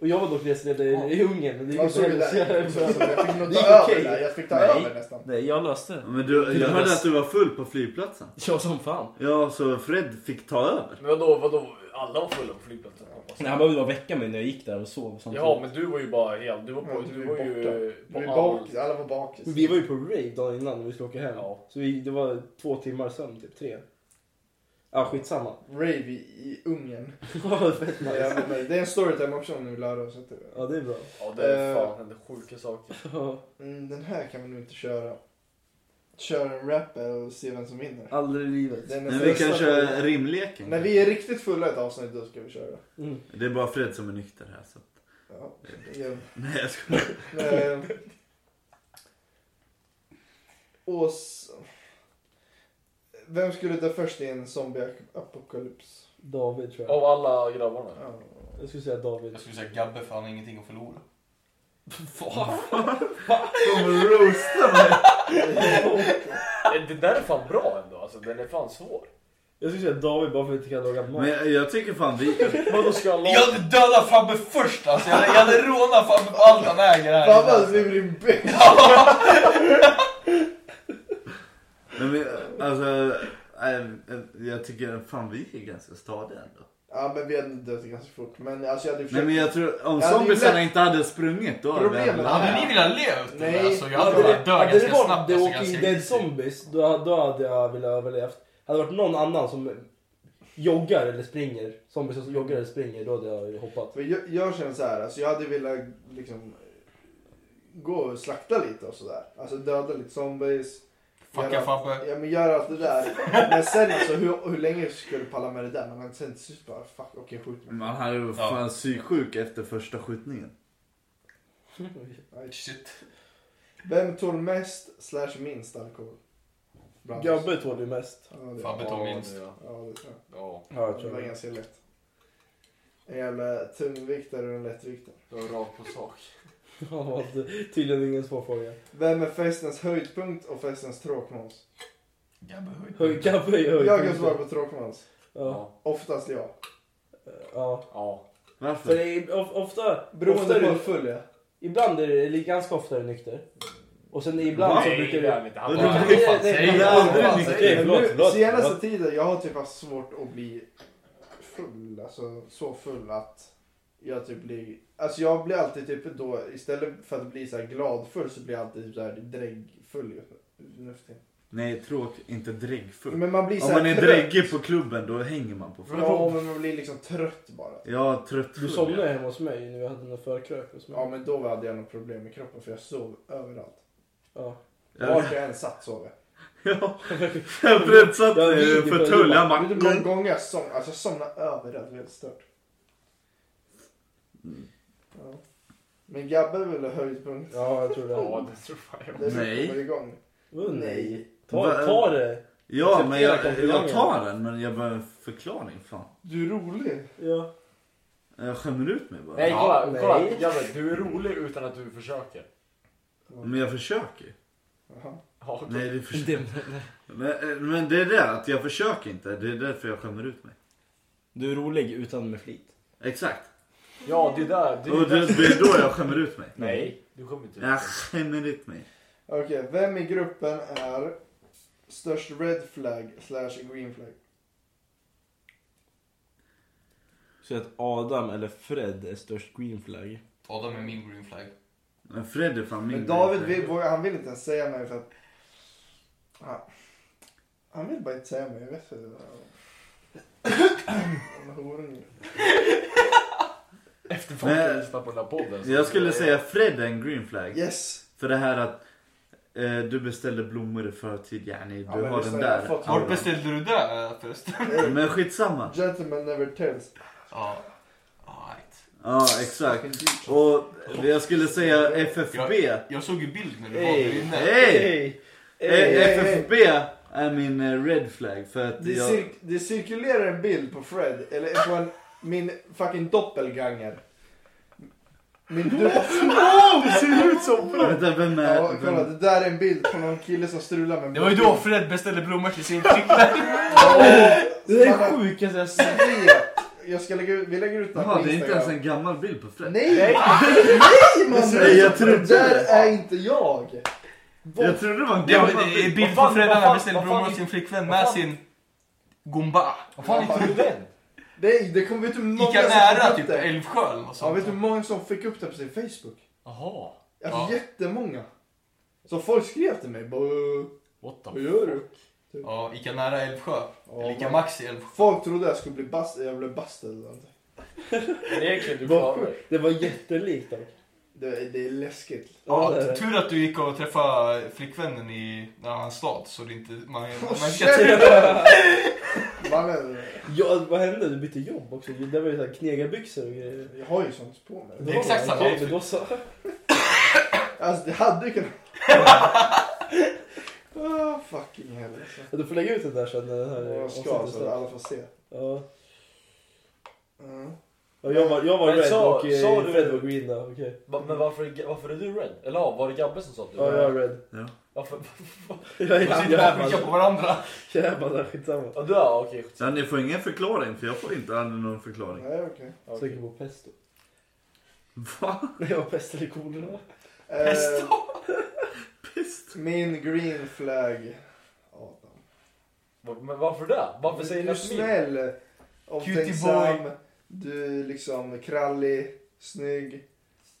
Speaker 1: Och jag var dock reseledare i Ungern, men det
Speaker 4: Jag
Speaker 1: gick
Speaker 4: såg
Speaker 1: inte
Speaker 4: ju dig.
Speaker 1: heller
Speaker 4: Jag
Speaker 1: så jävla bra.
Speaker 4: fick nog
Speaker 1: Det gick
Speaker 4: ta över
Speaker 1: okej.
Speaker 4: där, jag fick ta
Speaker 1: Nej.
Speaker 4: över nästan.
Speaker 6: Nej, jag löste det.
Speaker 2: Men du, jag hörde
Speaker 6: bäst.
Speaker 2: att du var full på flygplatsen.
Speaker 6: Jag som fan.
Speaker 2: Ja, så Fred fick ta över.
Speaker 7: Men vadå, vadå? Alla var fulla på flygplatsen.
Speaker 6: Nej, han behövde bara väcka mig när jag gick där och sov samtidigt.
Speaker 7: Ja, men du var ju bara helt... Du var, på,
Speaker 4: Ja,
Speaker 7: du var ju
Speaker 4: Vi
Speaker 7: på
Speaker 4: var
Speaker 7: all...
Speaker 4: bakis, alla var bakis.
Speaker 1: Men Vi var ju på rave dagen innan när vi skulle åka hem.
Speaker 7: Ja.
Speaker 1: Så vi, det var två timmar sömn, typ tre. Ja, skitsamma.
Speaker 4: Rave i, i Ungern.
Speaker 1: Ja, Fett
Speaker 4: Ja,
Speaker 1: nice.
Speaker 4: jag vet inte. Det är en storytime också om ni vill höra. oss.
Speaker 1: Ja, det är bra.
Speaker 7: Ja, det är
Speaker 4: Eh.
Speaker 7: fan hände sjuka saker.
Speaker 1: Ja,
Speaker 4: Mm, den här kan vi nog inte köra. Kör en rap och se vem som vinner.
Speaker 1: Aldrig i livet.
Speaker 4: Den är
Speaker 2: Men vi
Speaker 4: förresten-
Speaker 2: kan köra rimleken.
Speaker 4: När vi är riktigt fulla i ett avsnitt då ska vi köra.
Speaker 1: Mm.
Speaker 2: Det är bara Fred som är nykter här. Så.
Speaker 4: Ja, igen.
Speaker 2: Nej, jag skojar.
Speaker 4: Eh, Ås... Vem skulle dö först i en zombie-apokalyps?
Speaker 1: David tror jag.
Speaker 7: Av alla grabbarna.
Speaker 4: Ja.
Speaker 1: Jag skulle säga David.
Speaker 3: jag skulle säga Gabbe för han har ingenting att förlora.
Speaker 2: Kommer roasta mig.
Speaker 7: Eh, Det där är fan bra ändå. Alltså, den är fan svår.
Speaker 1: Jag skulle säga David bara för att vi inte kan laga mat.
Speaker 2: Men jag, jag tycker fan vi...
Speaker 7: Vadå, ska jag
Speaker 3: Jag
Speaker 7: laga...
Speaker 3: hade dödat Fabbe först alltså. Jag hade, jag hade rånat Fabbe på allt han äger här. Alltså.
Speaker 4: Fan vad du blir en bitch!
Speaker 2: Men vi alltså... nej, Jag tycker fan vi är ganska stadiga ändå.
Speaker 4: Ja men vi hade dött ganska fort. Men alltså jag hade
Speaker 2: Nej
Speaker 4: försökt.
Speaker 2: men jag tror om
Speaker 4: Ja, det är
Speaker 2: zombiesarna
Speaker 4: lätt.
Speaker 2: inte hade sprungit då hade vi
Speaker 4: Problemet
Speaker 2: alla-
Speaker 3: Hade ni velat leva utan
Speaker 4: Nej.
Speaker 3: det? Alltså, jag hade
Speaker 1: Hade
Speaker 3: velat
Speaker 1: det,
Speaker 3: dö
Speaker 1: hade det
Speaker 3: ganska
Speaker 1: varit
Speaker 3: snabbt.
Speaker 1: The
Speaker 3: alltså,
Speaker 1: Walking
Speaker 3: ganska
Speaker 1: Dead
Speaker 3: easy.
Speaker 1: Zombies, då, då hade jag velat överlevt. Hade det varit någon annan som joggar eller springer, zombies som joggar eller springer, då hade jag hoppat.
Speaker 4: Men jag, jag känner så här, alltså jag hade velat liksom gå och slakta lite och sådär. Alltså döda lite zombies.
Speaker 3: Fucka
Speaker 4: Jävlar.
Speaker 3: Fabbe.
Speaker 4: Ja men gör allt det där. Men sen alltså hur, hur länge skulle du palla med det där? Man hade sen till slut bara fuck okej skjut mig.
Speaker 2: Man hade ju fan psyksjuk efter första skjutningen.
Speaker 4: Nej.
Speaker 3: Shit.
Speaker 4: Vem tål mest slash minst alkohol? Bland oss.
Speaker 1: Gabbe tål ju mest.
Speaker 4: Ja, det, ja,
Speaker 3: Fabbe tar minst.
Speaker 7: Ja,
Speaker 4: det tror jag.
Speaker 7: ja.
Speaker 1: Ja, jag
Speaker 4: Det
Speaker 1: tror
Speaker 4: var
Speaker 1: det.
Speaker 4: ganska lätt. En jävla tungviktare och en lättviktare.
Speaker 7: Det var rakt på sak.
Speaker 1: Ja, det var tydligen ingen svår fråga.
Speaker 4: Vem är festens höjdpunkt och festens tråkmåns?
Speaker 3: Gabbe
Speaker 1: Höj-
Speaker 3: höjd.
Speaker 1: Gabbe är höjd.
Speaker 4: Jag kan svara på tråkmåns.
Speaker 1: Ja.
Speaker 4: Oftast jag.
Speaker 1: ja. Mm.
Speaker 7: Ja.
Speaker 1: För
Speaker 2: Varför?
Speaker 1: det är of, ofta... ofta
Speaker 4: Beroende
Speaker 1: är
Speaker 4: på
Speaker 1: du-
Speaker 4: hur full jag är.
Speaker 1: Ibland är det, eller ganska ofta är du nykter. Och sen ibland så brukar
Speaker 7: det
Speaker 1: du...
Speaker 7: är han inte. Han
Speaker 2: Men
Speaker 7: bara...
Speaker 2: du-
Speaker 1: Nej, nej,
Speaker 2: säg
Speaker 1: nej,
Speaker 2: det.
Speaker 1: aldrig
Speaker 2: Fan,
Speaker 1: nykter.
Speaker 2: säg det.
Speaker 1: Förlåt,
Speaker 4: nu,
Speaker 1: förlåt,
Speaker 4: senaste
Speaker 1: förlåt.
Speaker 4: tiden, jag har typ haft svårt att bli full. Alltså så full att jag typ blir... Alltså jag blir alltid typ då, istället för att bli så här gladfull så blir jag alltid typ så här dräggfull. ju. Nu för tiden.
Speaker 2: Nej, tråk, inte dräggfull.
Speaker 4: Men man blir så
Speaker 2: Om
Speaker 4: här
Speaker 2: Mm. man är
Speaker 4: trött.
Speaker 2: dräggig på klubben då hänger man på folk.
Speaker 4: Ja, men man blir liksom trött bara.
Speaker 2: Ja, tröttfull.
Speaker 1: Du somnade hemma hos mig när vi hade någon förkrök hos mig.
Speaker 4: Ja, men då hade jag något problem med kroppen för jag sov överallt.
Speaker 1: Ja.
Speaker 4: Vart
Speaker 2: Ja,
Speaker 4: jag än satt sov jag.
Speaker 2: ja. Jag prutsatt
Speaker 1: Jag lider för
Speaker 2: för tull.
Speaker 1: det.
Speaker 2: Han
Speaker 4: Vet du
Speaker 2: bara...
Speaker 4: hur många gånger jag somnade? Alltså jag somnade överallt. Väldigt stört. Ja. Men Gabbe är väl höjdpunkt?
Speaker 1: ja, jag tror det.
Speaker 7: Ja, det tror fan jag.
Speaker 4: Det är så
Speaker 2: Nej.
Speaker 4: jag kommer igång.
Speaker 1: Oh,
Speaker 4: Nej.
Speaker 1: Ta, ta det.
Speaker 2: Ja, men jag,
Speaker 1: Acceptera
Speaker 2: jag tar den. Men jag behöver en förklaring. Fan.
Speaker 4: Du är rolig.
Speaker 1: Ja.
Speaker 2: Jag skämmer ut mig bara.
Speaker 7: Nej,
Speaker 3: Ja,
Speaker 7: kolla.
Speaker 1: nej.
Speaker 7: kolla. Janne, du är rolig utan att du försöker.
Speaker 2: Men jag försöker.
Speaker 4: Jaha.
Speaker 7: Ja, okej.
Speaker 2: Nej, det försöker. Men, eh, men det är det att jag försöker inte. Det är därför jag skämmer ut mig.
Speaker 1: Du är rolig utan med flit.
Speaker 2: Exakt.
Speaker 7: Ja, det är där. Det är
Speaker 2: Och
Speaker 7: där.
Speaker 2: det, Äh, det är då jag skämmer ut mig.
Speaker 7: Nej, du kommer inte.
Speaker 2: Jag skämmer ut mig.
Speaker 4: Okej, vem i gruppen är störst red flag slash green flag?
Speaker 1: Så att Adam eller Fred är störst green flag.
Speaker 3: Adam är min green flag.
Speaker 2: Men Fred är fan min
Speaker 4: Men David
Speaker 2: grej.
Speaker 4: vill, vågar- han vill inte ens säga mig för att... Han, han vill bara inte säga mig. Jag vet inte. Han är horung.
Speaker 7: Efter
Speaker 2: Nej.
Speaker 7: folk lyssnar på den här podden. så-
Speaker 2: Jag skulle säga Fred är en green flag.
Speaker 4: Yes!
Speaker 2: För det här att eh, du beställde blommor i förtid, yani. Du
Speaker 4: Ja, men
Speaker 2: har
Speaker 4: lyssna,
Speaker 2: den
Speaker 4: jag
Speaker 2: där.
Speaker 4: har fått-
Speaker 3: Vart beställde du det äh, förresten?
Speaker 2: Men skitsamma.
Speaker 4: Gentleman never tells.
Speaker 3: Ja. Alright.
Speaker 2: Ja, exakt. Och jag skulle säga FFB.
Speaker 3: Jag såg ju bild när du var där
Speaker 1: Hey.
Speaker 3: inne.
Speaker 2: Hej! Eh,
Speaker 1: Hey.
Speaker 4: Hey.
Speaker 2: FFB är min eh, red flag för att
Speaker 4: Det,
Speaker 2: jag...
Speaker 4: cir- det cirkulerar en bild på Fred, eller på en, min fucking doppelganger. Min du-
Speaker 2: Vänta, vem
Speaker 4: ja,
Speaker 2: är...
Speaker 4: kolla,
Speaker 2: Vem?
Speaker 4: det där är en bild på någon kille som strular med
Speaker 3: Det var ju då Fred beställde blommor till sin flickvän.
Speaker 1: Det är det sjukaste jag sett.
Speaker 4: Svep. Jag ska lägga ut, vi lägger ut den här
Speaker 2: Jaha, det är inte ens
Speaker 4: Instagram.
Speaker 2: en gammal bild på Fred.
Speaker 4: Nej! Nej mannen!
Speaker 2: Nej, jag trodde
Speaker 4: det där
Speaker 2: det.
Speaker 4: är inte jag!
Speaker 2: Jag trodde det var en
Speaker 3: Det var
Speaker 2: gammal
Speaker 3: en
Speaker 2: bild.
Speaker 3: bild
Speaker 7: Vad
Speaker 3: på
Speaker 7: fan-
Speaker 3: Fred när
Speaker 7: vad
Speaker 3: han
Speaker 7: fan-
Speaker 3: beställde
Speaker 7: vad fan
Speaker 3: blommor
Speaker 7: gick-
Speaker 3: till sin flickvän
Speaker 7: vad
Speaker 3: med
Speaker 7: fan-
Speaker 3: sin gumba.
Speaker 7: Vad fan gick du den?
Speaker 4: Nej, det kom vet du hur många
Speaker 3: Gick jag
Speaker 4: som
Speaker 3: nära
Speaker 4: fick upp
Speaker 3: typ
Speaker 4: det?
Speaker 3: Älvsjö eller något
Speaker 4: Ja,
Speaker 3: sånt?
Speaker 4: vet du hur många som fick upp det på sin Facebook?
Speaker 7: Jaha.
Speaker 4: Alltså
Speaker 3: Ja.
Speaker 4: jättemånga. Så folk skrev till mig bara "Äh,
Speaker 7: What the
Speaker 4: Vad gör du?
Speaker 3: Ja, gick jag nära Älvsjö?
Speaker 4: Ja,
Speaker 3: Eller gick
Speaker 4: men-
Speaker 3: jag max i Älvsjö?
Speaker 4: Folk trodde jag skulle bli bast, jag blev bastad eller någonting.
Speaker 7: Men egentligen, du
Speaker 1: Vad
Speaker 7: klarar dig.
Speaker 1: Det var jättelikt dock.
Speaker 4: Det, det är läskigt.
Speaker 1: Ja, det
Speaker 3: Ja,
Speaker 1: är det.
Speaker 3: tur att du gick och träffade flickvännen i en annan stad så det inte... Man, typ man
Speaker 4: Åh,
Speaker 3: ska
Speaker 4: shit! Mannen,
Speaker 1: Ja, vad hände? Du bytte jobb också. Det var ju såhär knegarbyxor och grejer.
Speaker 4: jag har ju sånt på mig.
Speaker 3: Det är exakt samma
Speaker 1: Ja, men då så.
Speaker 4: Alltså det hade ju kunnat... ah, fucking hell alltså.
Speaker 1: Ja, Du får lägga ut den där sen när den här
Speaker 4: Jag ska
Speaker 1: avsnittet
Speaker 4: alltså,
Speaker 1: släpps.
Speaker 4: alla får se.
Speaker 1: Ja.
Speaker 4: Mm.
Speaker 1: Ja, jag var, jag var
Speaker 7: Men
Speaker 1: red
Speaker 7: sa-
Speaker 1: och eh,
Speaker 7: sa du-
Speaker 1: Fred var green då. Okej.
Speaker 7: Va- Men varför, är- varför är du rädd? Eller ja, var det Gabbe som sa att du
Speaker 1: Ja,
Speaker 7: var
Speaker 1: jag är
Speaker 7: rädd?
Speaker 1: red.
Speaker 7: Varför?
Speaker 1: Jag är
Speaker 3: sitta
Speaker 1: jag
Speaker 3: och
Speaker 1: är
Speaker 3: skicka
Speaker 1: bara-
Speaker 3: på varandra.
Speaker 1: jag är bara där, skitsamma.
Speaker 7: Ja, du är okej.
Speaker 2: Ja, ni får ingen förklaring för jag får inte aldrig någon förklaring.
Speaker 4: Nej, okej.
Speaker 1: Jag
Speaker 7: okej.
Speaker 1: Söker på pesto.
Speaker 2: Va?
Speaker 1: Nej, jag var pest eller kolera.
Speaker 4: Eh,
Speaker 2: Pist.
Speaker 4: min green flag. Adam.
Speaker 7: Var- Men varför det? Varför säger
Speaker 4: du
Speaker 7: ni
Speaker 4: är
Speaker 7: att min?
Speaker 4: snäll,
Speaker 3: Cutie
Speaker 4: omtänksam, du är liksom krallig, snygg,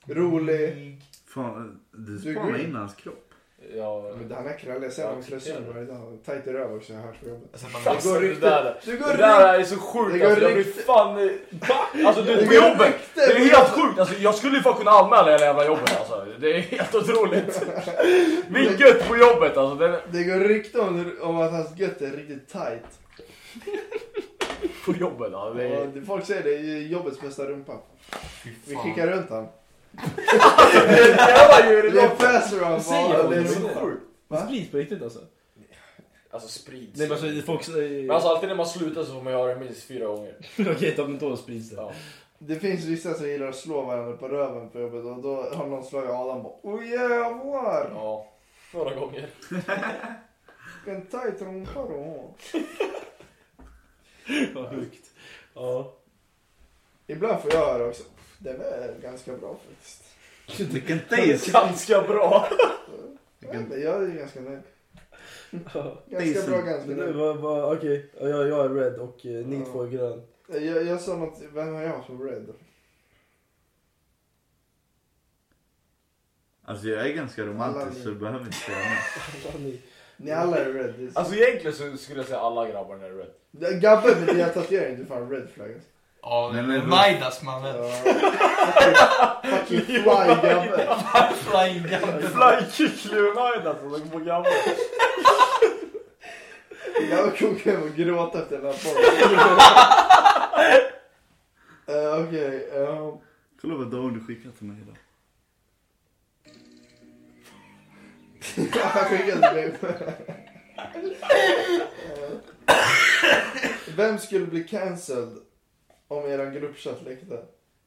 Speaker 4: rolig.
Speaker 2: Fan, du
Speaker 4: Du är
Speaker 2: spanar
Speaker 4: green.
Speaker 2: in hans kropp.
Speaker 7: Ja,
Speaker 4: Men han är krallig, jag ser
Speaker 7: Jag
Speaker 4: honom klösa
Speaker 7: accepterar
Speaker 4: varje dag. Tajt i röv också, jag hörs på jobbet.
Speaker 3: Jag sätter mig.
Speaker 7: alltså,
Speaker 4: går
Speaker 7: det
Speaker 4: rykte-
Speaker 7: där.
Speaker 4: Du går
Speaker 7: Det
Speaker 4: runt
Speaker 7: där är så
Speaker 4: Det
Speaker 7: sjukt
Speaker 4: går
Speaker 7: alltså, jag blir
Speaker 4: riktigt-
Speaker 7: fan... eh, Alltså du,
Speaker 4: Det
Speaker 7: på
Speaker 4: går
Speaker 7: jobbet! Det är helt sjukt! Alltså jag skulle ju fan kunna anmäla hela jävla jobbet alltså. Det är helt otroligt. Mitt gött på jobbet alltså. Den,
Speaker 4: Det går rykte om, om att hans gött är riktigt tight.
Speaker 7: på jobbet alltså. Det är...
Speaker 4: Och folk säger det är jobbets bästa rumpa.
Speaker 3: Fy
Speaker 4: Vi
Speaker 3: fan.
Speaker 4: skickar runt han.
Speaker 7: Jävla djur i
Speaker 4: Det är
Speaker 7: loppet.
Speaker 4: pass around
Speaker 1: Säger
Speaker 4: bara.
Speaker 1: de
Speaker 4: Det är
Speaker 1: det?
Speaker 4: så sjukt.
Speaker 1: Det
Speaker 4: Va?
Speaker 1: sprids på riktigt alltså?
Speaker 7: Alltså sprids.
Speaker 1: Nej men alltså folk...
Speaker 7: Men alltså alltid när man slutar så får man göra det minst fyra gånger.
Speaker 1: Okej, då- men då sprids det.
Speaker 7: Ja.
Speaker 4: Det finns vissa som gillar att slå varandra på röven på jobbet och då har någon slagit Adam bara Åh jävlar!
Speaker 7: ja. Några gånger.
Speaker 4: Vilken tight rumpa du har.
Speaker 1: Vad sjukt. Ja.
Speaker 4: Ibland får jag höra också. Den är ganska bra faktiskt.
Speaker 2: Vilken taste.
Speaker 7: Ganska bra.
Speaker 4: Ja, men jag är ju ganska nöjd. Ganska
Speaker 2: Decent.
Speaker 4: bra, ganska
Speaker 1: Men nu,
Speaker 4: nöjd.
Speaker 1: vad, vad, okej. Ja, Jag, jag är red och eh, ni
Speaker 4: Ja.
Speaker 1: två är grön.
Speaker 4: Jag, jag sa något, vem har jag som red?
Speaker 2: Alltså jag är ganska romantisk så du behöver inte säga något.
Speaker 1: Alla ni.
Speaker 4: Ni alla är red. Det är så-
Speaker 7: Alltså egentligen så skulle jag säga alla grabbar när det är rätt.
Speaker 4: Gabbe med dina tatueringar, du är fan red flag. alltså.
Speaker 3: Ja,
Speaker 2: Nej, men-
Speaker 3: Midas mannen.
Speaker 4: Ja. Fucking- Fucking fly Gabbe.
Speaker 3: Flying Gabbe.
Speaker 7: Flykick United alltså. De går gamla.
Speaker 4: Jag kommer hem och gråta efter den här podden. Eh, Okej, ehm,
Speaker 2: Kolla vad dagen du skickat till mig idag.
Speaker 4: han skickade till mig. Eh, Vem skulle bli cancelled om eran gruppchatt läckte?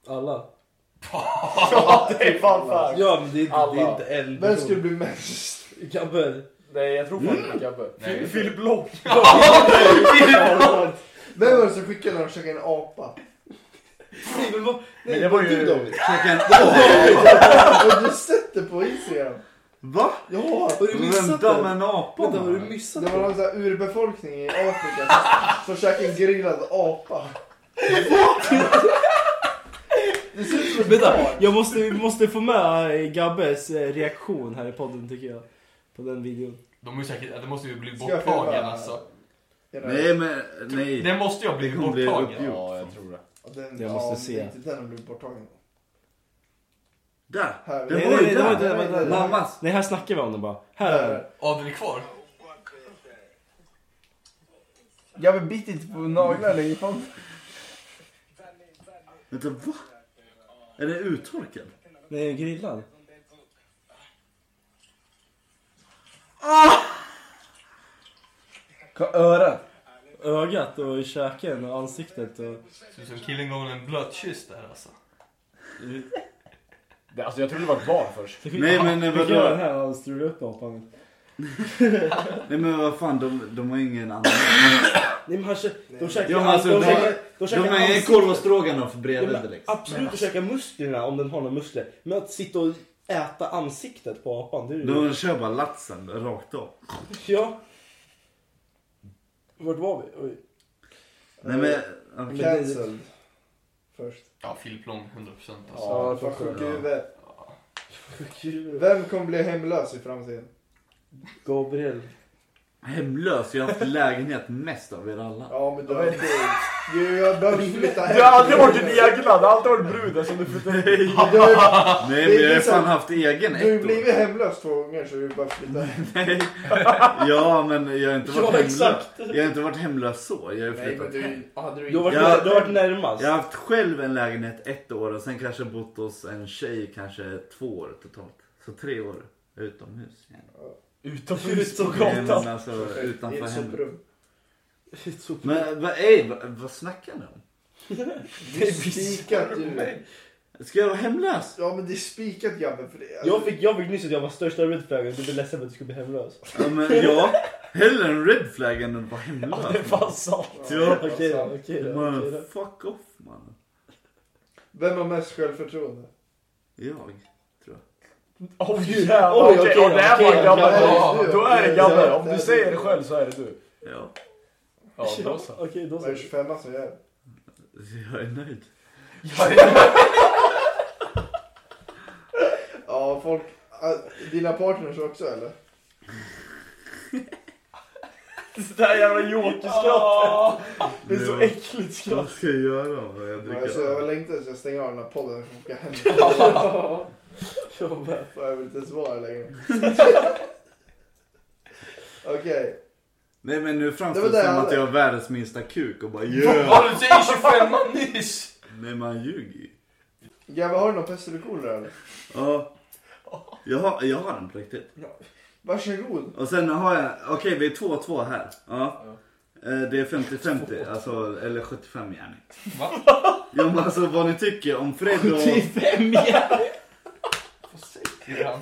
Speaker 1: Alla.
Speaker 7: Ja det är fan fan.
Speaker 1: Ja men det är inte, det är
Speaker 7: Alla.
Speaker 1: inte en
Speaker 4: Vem
Speaker 1: person.
Speaker 4: skulle bli mest?
Speaker 1: Gabbe.
Speaker 7: Nej jag tror fan inte på Gabbe.
Speaker 3: Nej.
Speaker 7: Filip Block.
Speaker 4: Vem var det som skickade när de käkade en apa?
Speaker 1: Nej men vad...
Speaker 7: Men det var
Speaker 4: Du
Speaker 7: ju...
Speaker 4: David.
Speaker 2: Vilken...
Speaker 4: Har du sett det på Instagram?
Speaker 2: Va?
Speaker 4: Ja!
Speaker 1: Har du missat
Speaker 2: Vem med
Speaker 1: det?
Speaker 2: en apa?
Speaker 1: Vänta, har du
Speaker 2: man?
Speaker 1: missat
Speaker 4: Det var
Speaker 1: det?
Speaker 4: någon sån här urbefolkning i Afrika som- som käkade en grillad apa. Det ser ut som ett
Speaker 1: Vänta,
Speaker 4: barn.
Speaker 1: jag måste, vi måste få med eh, Gabbes eh, reaktion här i podden tycker jag. På den videon.
Speaker 3: De, är ju säkert, de måste ju bli
Speaker 4: Ska jag
Speaker 3: borttagen
Speaker 4: filma?
Speaker 3: alltså.
Speaker 2: Nej men nej.
Speaker 3: Det måste ju ha blivit
Speaker 2: Det kommer bli
Speaker 3: borttagen.
Speaker 2: uppgjort.
Speaker 7: Ja jag tror det.
Speaker 4: Den,
Speaker 1: Jag måste se.
Speaker 4: ja, men det är Inte den har blivit borttagen.
Speaker 2: Där!
Speaker 4: Här.
Speaker 2: Den
Speaker 1: Nej,
Speaker 2: var ju
Speaker 1: nej, det var inte-
Speaker 2: där!
Speaker 1: det var inte- det var-
Speaker 2: Mammas!
Speaker 1: Nej här snackar vi om den bara. Här är den.
Speaker 3: Ja, den är kvar.
Speaker 4: Jag vill bit inte på naglarna längre fram.
Speaker 2: Vänta va? Är den uttorkad?
Speaker 1: Nej grillan.
Speaker 4: Örat.
Speaker 1: Ögat och käken och ansiktet och...
Speaker 3: Ser ut som killen gav en blötkyss där alltså.
Speaker 7: det. Alltså jag trodde det var ett barn först.
Speaker 2: Nej men nej,
Speaker 1: Vi kan göra den
Speaker 2: vadå?
Speaker 1: här och strula upp apan.
Speaker 2: Nej men vad fan de, de har ingen annan.
Speaker 1: Nej men han kä- de käkar
Speaker 2: Ja, men
Speaker 1: all-
Speaker 2: alltså,
Speaker 1: de
Speaker 2: de-
Speaker 1: käkar- de
Speaker 2: De
Speaker 1: käkar
Speaker 2: har ingen
Speaker 1: ansiktet.
Speaker 2: korv och stroganoff
Speaker 1: Ja,
Speaker 2: bredvid
Speaker 1: men
Speaker 2: liksom.
Speaker 1: Absolut att käka musklerna om den har några muskler. Men att sitta och äta ansiktet på apan, det är ju...
Speaker 2: De kör bara latsen rakt av.
Speaker 1: Ja. Vart var vi? Oj.
Speaker 2: Nej men okej.
Speaker 4: Cancelled. Först.
Speaker 3: Ja, Filip Long 100% alltså.
Speaker 1: Ja,
Speaker 4: Fan, sjuk i huvudet.
Speaker 1: Kul.
Speaker 4: Vem kommer bli hemlös i framtiden?
Speaker 1: Gabriel.
Speaker 2: Hemlös, jag har haft lägenhet mest av er alla.
Speaker 4: Ja men du har inte... Jo, Jag behöver flytta hem.
Speaker 7: Du har aldrig varit din egna, du har alltid varit bruden som du flyttade in.
Speaker 4: Du har-
Speaker 2: Nej
Speaker 4: Det är
Speaker 2: men jag har
Speaker 4: liksom-
Speaker 2: fan haft egen
Speaker 4: Du har ju
Speaker 2: ett år.
Speaker 4: blivit hemlös två gånger så du bara flytta hem.
Speaker 2: Nej. Ja men jag har inte varit
Speaker 1: Ja,
Speaker 2: hemlös.
Speaker 1: exakt.
Speaker 2: Jag har inte varit hemlös så. Jag har
Speaker 4: Nej men
Speaker 2: flyttat hem.
Speaker 4: du... Hade du
Speaker 1: Du har varit,
Speaker 4: inte...
Speaker 2: Ja.
Speaker 1: du har varit närmast.
Speaker 2: Jag har haft själv en lägenhet ett år och sen kanske bott hos en tjej kanske två år totalt. Så tre år utomhus.
Speaker 1: Utomhus på
Speaker 2: Nej, men
Speaker 1: gatan.
Speaker 2: alltså utanför
Speaker 4: I ett
Speaker 2: hemmet.
Speaker 4: soprum.
Speaker 2: Men vad, ey, vad, vad snackar ni om?
Speaker 4: Det är spikat du.
Speaker 2: Ska jag vara hemlös?
Speaker 4: Ja men det är spikat grabben för det.
Speaker 1: Jag fick, jag fick nyss att jag var största redflaggen så jag blev ledsen för att du skulle bli hemlös.
Speaker 2: Ja, men, ja. hellre en red flag än att vara
Speaker 7: Ja,
Speaker 2: hemlös.
Speaker 7: det är fan sant.
Speaker 2: Ja,
Speaker 1: Alltså, Okej då,
Speaker 4: alltså.
Speaker 1: okej då.
Speaker 2: man,
Speaker 1: okej då.
Speaker 2: fuck off mannen.
Speaker 4: Vem har mest självförtroende?
Speaker 2: Jag.
Speaker 7: Åh oh,
Speaker 1: Oj,
Speaker 7: jävlar. Okej,
Speaker 1: okej,
Speaker 7: ja, det här
Speaker 1: okej,
Speaker 7: var en
Speaker 1: ja,
Speaker 7: gabbe.
Speaker 4: det är
Speaker 7: Ja,
Speaker 4: du.
Speaker 7: Då är
Speaker 4: Ja,
Speaker 7: det gabbe.
Speaker 4: det
Speaker 7: Om
Speaker 4: är
Speaker 7: du säger
Speaker 4: du.
Speaker 7: det själv så är det du.
Speaker 2: Ja,
Speaker 7: Ja, då så.
Speaker 1: Okej, då
Speaker 4: Vad är
Speaker 1: så.
Speaker 4: 25 som gör?
Speaker 2: jag är nöjd.
Speaker 4: Ja folk... ah, Dina partners också eller?
Speaker 7: Det där jävla jokerskrattet. Det är så
Speaker 2: Ja.
Speaker 7: äckligt skratt.
Speaker 2: Vad ska jag göra om jag dricker
Speaker 4: Alltså, jag
Speaker 2: öl?
Speaker 4: längtar tills jag stänger av den här podden och åka hem. jag Jag vill inte ens vara här längre. Okej.
Speaker 2: Nej men nu framstår
Speaker 4: Det
Speaker 2: det
Speaker 4: var det
Speaker 2: som
Speaker 4: jag
Speaker 2: att
Speaker 4: hade.
Speaker 2: jag har världens minsta kuk och bara yeah.
Speaker 3: Vad du säger 25 nyss!
Speaker 2: Nej man ljuger ju.
Speaker 4: Grabbar, har du någon pest eller kolera eller?
Speaker 2: Ja. Jag har, jag har den på riktigt.
Speaker 4: Varsågod.
Speaker 2: Och sen har jag, okej vi är 2-2 här. Ja. Eh, Det är 50-50, alltså, eller 75 gärning.
Speaker 3: Va?
Speaker 2: Ja men alltså vad ni tycker om Fred och...
Speaker 3: Ibland.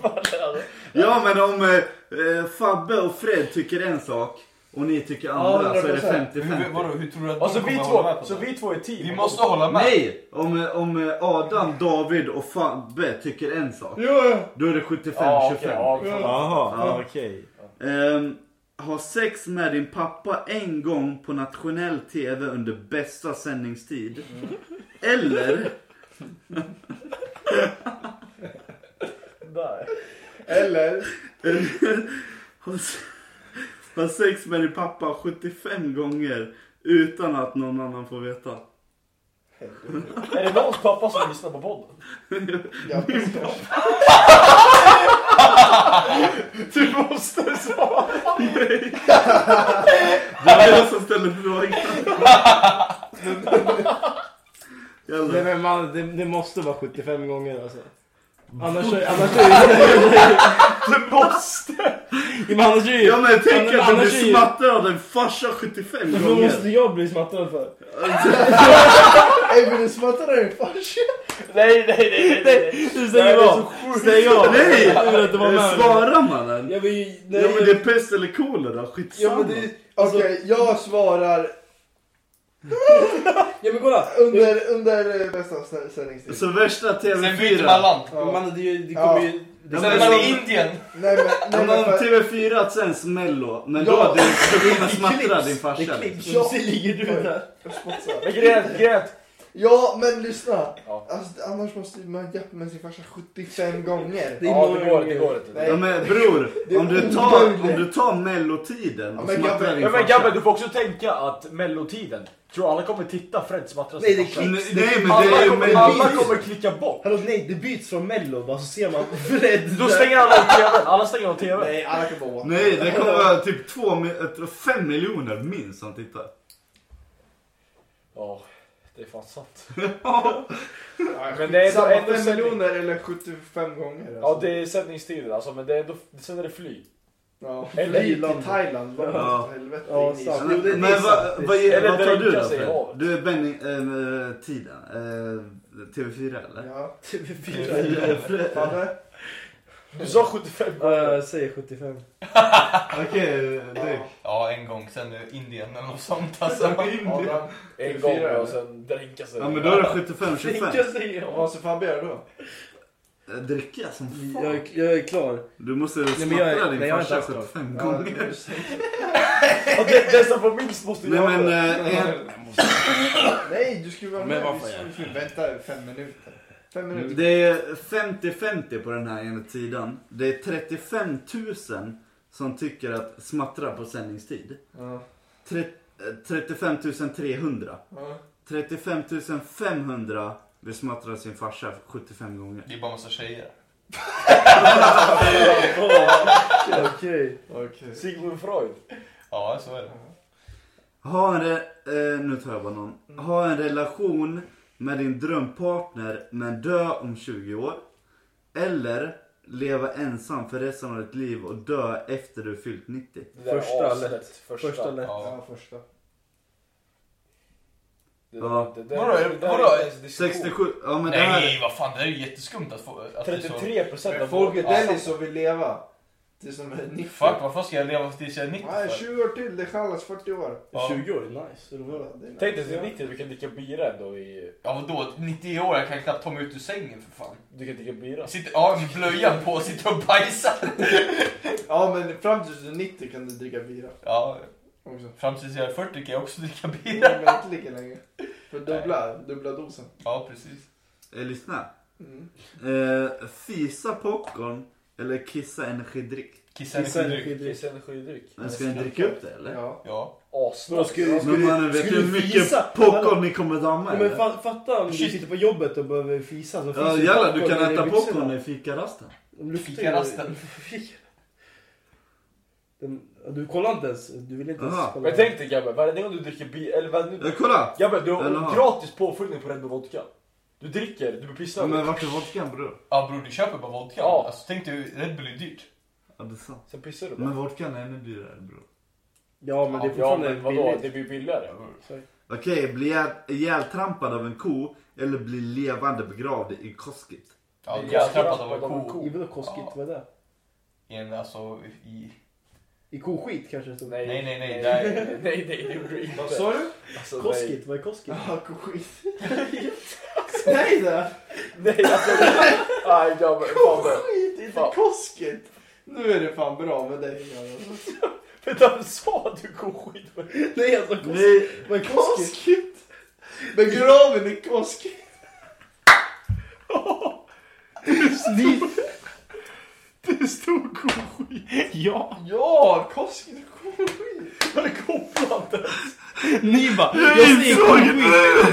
Speaker 2: Ja men om eh, eh, Fabbe och Fred tycker en sak och ni tycker andra så är det
Speaker 3: Hur,
Speaker 2: 50-50.
Speaker 3: vadå, hur tror du att
Speaker 7: Alltså
Speaker 3: de
Speaker 7: vi
Speaker 3: kommer hålla
Speaker 7: två,
Speaker 3: med på
Speaker 7: så
Speaker 3: det?
Speaker 7: vi två är team.
Speaker 3: Vi måste hålla med.
Speaker 2: Nej! Om, eh, om eh, Adam, David och Fabbe tycker en sak
Speaker 4: Jo, jo.
Speaker 2: då är det 75-25.
Speaker 7: Ja, okej, ja, fan.
Speaker 2: Ja.
Speaker 6: Jaha, okej.
Speaker 2: Ehm, ha sex med din pappa en gång på nationell tv under bästa sändningstid.
Speaker 7: Mm.
Speaker 2: Eller,
Speaker 7: Där.
Speaker 4: Eller?
Speaker 2: eller ha, s- ha sex med din pappa 75 gånger utan att någon annan får veta.
Speaker 7: Är det någons pappa som lyssnar på podden?
Speaker 4: Ja,
Speaker 2: Det är jag som ställer frågan.
Speaker 1: Nej
Speaker 2: Jävlar.
Speaker 1: men man, det, det måste vara 75 gånger alltså. Annars, är- annars är det
Speaker 7: Du måste!
Speaker 1: ju... Men annars är det ju...
Speaker 2: Ja men tänk
Speaker 1: annars-
Speaker 2: att du
Speaker 1: annars är
Speaker 2: blir
Speaker 1: ju-
Speaker 2: smattad av din farsa 75
Speaker 1: Vad måste
Speaker 2: gånger.
Speaker 1: jag bli smattad för?
Speaker 4: Ey, vill du smatta din farsa?
Speaker 7: Nej, nej, nej, nej, nej.
Speaker 1: Du
Speaker 7: Det här
Speaker 1: stänger
Speaker 7: är så
Speaker 1: av! Stäng av!
Speaker 2: Nej! Eh,
Speaker 1: Jag vill inte vara med.
Speaker 2: Svara mannen.
Speaker 1: Jag vill ju... Nej,
Speaker 2: Ja men det är pest eller kolera, skitsamma.
Speaker 1: Ja men det... alltså-
Speaker 4: Okej, jag svarar
Speaker 1: Ja men kolla!
Speaker 4: under, under eh, bästa sä- sändningstid.
Speaker 2: Så värsta TV4.
Speaker 3: Sen byter man land.
Speaker 4: Ja.
Speaker 1: Man, det, är ju- det
Speaker 4: Ja.
Speaker 1: kommer ju...
Speaker 3: Sen
Speaker 2: men
Speaker 3: är man i
Speaker 2: som-
Speaker 3: Indien.
Speaker 4: Nej men,
Speaker 2: Ja,
Speaker 4: nej,
Speaker 2: men
Speaker 4: men
Speaker 2: om
Speaker 1: typ-
Speaker 4: för,
Speaker 2: TV4 sänds mello, men då,
Speaker 4: Ja.
Speaker 2: du, du kommer smattra din farsa.
Speaker 1: Det
Speaker 2: liksom.
Speaker 1: klipps.
Speaker 4: Ja.
Speaker 1: Så ligger du där.
Speaker 4: jag smutsar.
Speaker 7: Men grät, grät.
Speaker 4: Ja men lyssna.
Speaker 7: Ja.
Speaker 4: Alltså, annars måste man jappa med sin farsa 75 gånger.
Speaker 1: är
Speaker 7: Ja, det
Speaker 1: många
Speaker 7: går, det
Speaker 1: gånger.
Speaker 7: går inte.
Speaker 4: Nej.
Speaker 2: Ja men bror,
Speaker 4: Det är
Speaker 2: om du tar, om
Speaker 4: omöjligt.
Speaker 2: du tar mellotiden och
Speaker 4: men
Speaker 2: smattrar
Speaker 4: Gabbe-
Speaker 2: din
Speaker 7: Ja, men
Speaker 2: farsa.
Speaker 7: Gabbe, du får också tänka att mellotiden, tror alla kommer titta Fred smattra
Speaker 1: Nej,
Speaker 7: sin
Speaker 1: det
Speaker 7: farsa?
Speaker 2: Nej men det
Speaker 7: Alla
Speaker 2: är ju
Speaker 7: kommer, alla
Speaker 2: mellotid.
Speaker 7: kommer klicka bort.
Speaker 1: Hallå nej, det byts från mello bara så ser man Fred
Speaker 7: Då stänger alla av tvn. Alla stänger av tvn.
Speaker 4: Nej, alla kan bara åka.
Speaker 2: Nej det kommer vara typ 2, 5 miljoner minst som tittar.
Speaker 7: Ja, det är fan sant.
Speaker 4: Ja,
Speaker 7: Men det är
Speaker 4: samma
Speaker 7: ändå
Speaker 4: 5
Speaker 7: sändning.
Speaker 4: miljoner eller 75 gånger.
Speaker 7: Ja, det är sändningstiden alltså, men det är ändå, sen är det fly.
Speaker 4: Ja.
Speaker 7: Eller
Speaker 4: Fly
Speaker 7: Irland.
Speaker 4: till Thailand. Vad
Speaker 2: Ja.
Speaker 4: ja. helvete
Speaker 1: Ja,
Speaker 4: in i
Speaker 1: sant.
Speaker 4: Island.
Speaker 1: Jo, det är
Speaker 2: Men
Speaker 1: sant.
Speaker 2: vad, vad, ger-
Speaker 7: Eller
Speaker 2: vad tar du
Speaker 7: dränka
Speaker 2: då
Speaker 7: sig i
Speaker 2: Fred?
Speaker 7: havet.
Speaker 2: Du är Benny, eh, tiden, eh, TV4 eller?
Speaker 4: Ja.
Speaker 1: TV4.
Speaker 2: Eh, Fred-
Speaker 4: Fabbe?
Speaker 7: Du sa 75
Speaker 1: Ja, jag säger 75.
Speaker 2: Okej, eh, du.
Speaker 3: Ja, en gång. Sen är det Indien eller något sånt. Alltså.
Speaker 4: Adam?
Speaker 7: en gång
Speaker 4: eller?
Speaker 7: och sen dränka sig.
Speaker 2: Ja men då är det 75-25.
Speaker 1: säger
Speaker 4: Vad ska Fabbe göra då?
Speaker 2: Eh, Dricka som
Speaker 1: Jag,
Speaker 2: fan.
Speaker 1: är- jag är klar.
Speaker 2: Du måste
Speaker 1: men jag är-
Speaker 2: smattra
Speaker 1: nej,
Speaker 2: din
Speaker 1: jag är
Speaker 2: farsa
Speaker 1: inte alls
Speaker 2: 75
Speaker 4: Ja, det
Speaker 2: gånger.
Speaker 4: blir så-
Speaker 7: Ja, det- Dessa får minst måste
Speaker 2: Nej
Speaker 7: göra
Speaker 2: men,
Speaker 7: det.
Speaker 2: eh, en,
Speaker 4: Nej, du skulle vara
Speaker 6: Men
Speaker 4: med.
Speaker 6: vad
Speaker 4: Vi
Speaker 6: fan
Speaker 4: skulle- Vänta fem minuter. Fem minuter.
Speaker 2: Mm, Det är 50-50 på den här enligt sidan. Det är 35 000 som tycker att smattra på sändningstid.
Speaker 4: Ja.
Speaker 2: Tre- eh, 35 300.
Speaker 4: Ja.
Speaker 2: 35 500 vill smattra sin farsa 75 gånger.
Speaker 3: Det är bara massa tjejer.
Speaker 1: Okej.
Speaker 4: Okej.
Speaker 2: eh,
Speaker 7: Sigmund Freud.
Speaker 3: Ja, så är det.
Speaker 2: Ha en, re- eh, nu tar jag bara någon. Ha en relation med din drömpartner men dö om 20 år. Eller leva ensam för resten av ditt liv och dö efter du fyllt 90.
Speaker 7: Det där är
Speaker 1: Första
Speaker 7: aslätt.
Speaker 1: lätt.
Speaker 7: Första.
Speaker 1: Första lätt.
Speaker 3: Ja.
Speaker 4: Ja, första.
Speaker 7: Det,
Speaker 2: Ja.
Speaker 7: det, det,
Speaker 3: Vadå,
Speaker 7: det, det,
Speaker 3: vadå?
Speaker 2: 67, ja men det här...
Speaker 3: Nej, vad fan. Det är ju jätteskumt att få... Att det är så-
Speaker 7: 33 procent av
Speaker 4: Folket
Speaker 7: Ja.
Speaker 4: väljer som vill leva. Tills de är 90.
Speaker 3: Fuck, varför ska jag leva tills jag är 90
Speaker 4: Nej,
Speaker 3: för?
Speaker 4: 20 år till. Det är Challas 40 år.
Speaker 3: Ja.
Speaker 1: 20 år är nice. Eller
Speaker 4: Ja,
Speaker 1: vad?
Speaker 4: det är
Speaker 7: Tänk dig
Speaker 4: nice.
Speaker 7: till 90, du kan dricka bira ändå i...
Speaker 3: Ja, vadå? 90 år, jag kan knappt ta mig ut ur sängen för fan.
Speaker 7: Du kan dricka bira.
Speaker 3: Jag sitter, ja, med blöjan på och sitter och bajsar.
Speaker 4: Ja, men fram tills du är 90 kan du dricka bira.
Speaker 3: Ja,
Speaker 4: Också.
Speaker 3: fram tills jag är 40 kan jag också dricka bira.
Speaker 4: Men inte lika länge. För dubbla, dubbla dosen.
Speaker 3: Ja, precis.
Speaker 2: Eh, lyssna.
Speaker 4: Mm.
Speaker 2: Eh, fisa popcorn eller kissa energidryck?
Speaker 3: Kissa
Speaker 1: Kissa
Speaker 3: energi. dryck.
Speaker 1: energidryck.
Speaker 7: Kiss energidryck.
Speaker 2: Men ska ni dricka upp det eller?
Speaker 4: Ja.
Speaker 3: Ja.
Speaker 7: Asnice.
Speaker 1: Vadå, skulle-
Speaker 2: Men
Speaker 1: skulle
Speaker 2: mannen
Speaker 1: du-
Speaker 2: vet
Speaker 1: skulle
Speaker 2: du
Speaker 1: du
Speaker 2: hur
Speaker 1: fisa?
Speaker 2: mycket popcorn ni kommer damma
Speaker 1: Ja, men
Speaker 2: eller?
Speaker 1: fa- fatta om du
Speaker 3: Shit.
Speaker 1: sitter på jobbet och behöver fisa. Så
Speaker 2: Ja
Speaker 1: finns det
Speaker 2: jävlar du kan
Speaker 1: popcorn i
Speaker 2: äta
Speaker 1: byxorna.
Speaker 2: popcorn i fikarasten.
Speaker 1: De luktar ju-
Speaker 3: Fikarasten.
Speaker 1: Den, ja, du kollar inte ens. Du vill inte ens
Speaker 2: Aha.
Speaker 1: kolla.
Speaker 7: Men tänk dig grabbar, varje gång du dricker bi... Eller vad nu...
Speaker 2: Ja, kolla!
Speaker 7: Grabbar, du
Speaker 2: Eller
Speaker 7: har
Speaker 2: ha.
Speaker 7: gratis påfyllning på Red Bull Vodka. Du dricker, du blir
Speaker 2: Ja, men
Speaker 7: pissnödig.
Speaker 2: vart är vodkan bror?
Speaker 3: Ja bror, du köper bara vodka.
Speaker 7: Ja.
Speaker 3: Alltså tänk dig, Red Bull är dyrt.
Speaker 2: Ja det är sant.
Speaker 7: Sen pissar du bara.
Speaker 2: Men vodkan är ännu dyrare bror.
Speaker 1: Ja men det är
Speaker 7: Ja
Speaker 1: fortfarande
Speaker 7: men vadå,
Speaker 1: billigt.
Speaker 7: det blir billigare.
Speaker 2: Okej, bli ihjäl- ihjältrampad av en ko eller bli levande begravd i Koskit?
Speaker 3: Ja,
Speaker 7: Det är
Speaker 3: Gastrappad
Speaker 7: gastrappad
Speaker 3: av en ko.
Speaker 1: I vadå koskigt?
Speaker 3: Ja.
Speaker 1: Vad är det?
Speaker 3: I en, alltså, i...
Speaker 1: I koskit kanske det stod?
Speaker 7: Nej
Speaker 3: Nej, nej, nej.
Speaker 7: nej, nej, nej, nej, det gjorde du inte. Vad
Speaker 1: sa
Speaker 7: du? Alltså, nej.
Speaker 1: Koskit? Vad är koskit?
Speaker 4: Ja, koskit. Nej det!
Speaker 7: Nej alltså, nej grabbar. Fan vad...
Speaker 4: Skit, inte
Speaker 7: Fan.
Speaker 4: koskit. Nu är det fan bra med dig. grabbar.
Speaker 7: Vänta, sa du koskit?
Speaker 1: Nej alltså koskit.
Speaker 2: Nej,
Speaker 1: Vad är koskit?
Speaker 4: Koskit! Begraven i koskit.
Speaker 6: Det stod koskit. Ja.
Speaker 4: Ja, koskit. koskit.
Speaker 6: Ni bara, jag säger koskit.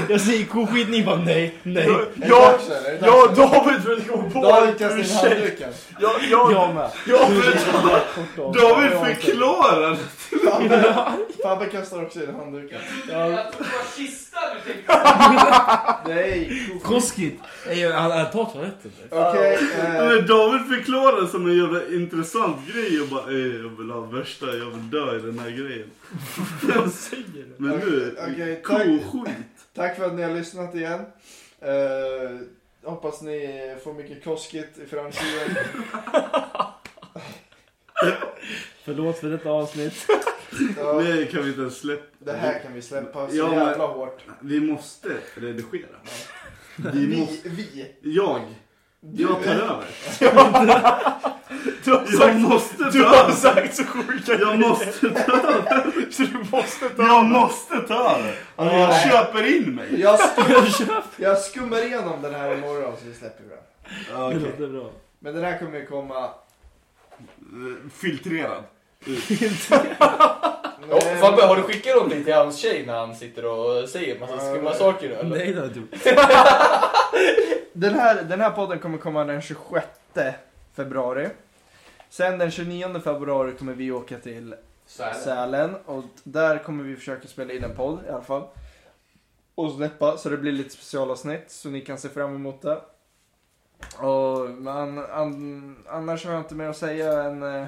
Speaker 6: Jag säger koskit, ni bara nej, nej.
Speaker 4: Är det dags eller? Är det dags?
Speaker 7: Ja, David vill gå på
Speaker 4: Då har vi kastat in handduken.
Speaker 2: jag, jag,
Speaker 6: Jag med.
Speaker 1: Kort av.
Speaker 2: David förklarar!
Speaker 4: Fabbe kastar också in handduken.
Speaker 9: Jag trodde det var kista du tänkte på.
Speaker 4: Nej.
Speaker 6: Koskit. Nej, Han han tar toaletten.
Speaker 4: Okej. eh,
Speaker 2: Men David förklarar som en jävla intressant grej och bara "Eh, jag vill ha värsta, jag vill dö i den här grejen.
Speaker 6: Vad säger du?
Speaker 2: Men nu,
Speaker 4: Okej, tack.
Speaker 2: koskit.
Speaker 4: Tack för att ni har lyssnat igen. Eh, hoppas ni får mycket koskit i framtiden.
Speaker 1: Förlåt för detta avsnitt.
Speaker 4: Ja,
Speaker 2: Nej, kan vi inte ens släppa.
Speaker 4: det här kan vi släppa så
Speaker 2: Ja, men-
Speaker 4: jävla hårt.
Speaker 2: Vi måste redigera. Vi måste,
Speaker 4: Vi, vi.
Speaker 2: jag, jag tar över.
Speaker 6: Du har
Speaker 2: Jag
Speaker 6: sagt,
Speaker 2: måste
Speaker 6: du
Speaker 2: ta
Speaker 6: har
Speaker 2: över.
Speaker 6: sagt så sjuka
Speaker 2: Jag måste ta över.
Speaker 6: Så du måste ta
Speaker 2: Jag måste ta över. Alltså, jag köper in mig.
Speaker 4: Jag, skum, jag skummar igenom den här imorgon så vi släpper den.
Speaker 2: Okej.
Speaker 6: Det låter bra.
Speaker 4: Men den här kommer ju komma...
Speaker 2: Eh, Filtrerad.
Speaker 3: Ja,
Speaker 4: Nej,
Speaker 3: Fabbe, har du skickat någonting till hans tjej när han sitter och säger massa skumma saker nu eller?
Speaker 6: Nej det har jag inte gjort.
Speaker 4: Den här, den här podden kommer komma den 26 februari. Sen den 29 februari kommer vi åka till Sälen och där kommer vi försöka spela in en podd i alla fall. Och släppa så det blir lite specialavsnitt så ni kan se fram emot det. Och man, an, annars har jag inte mer att säga än eh,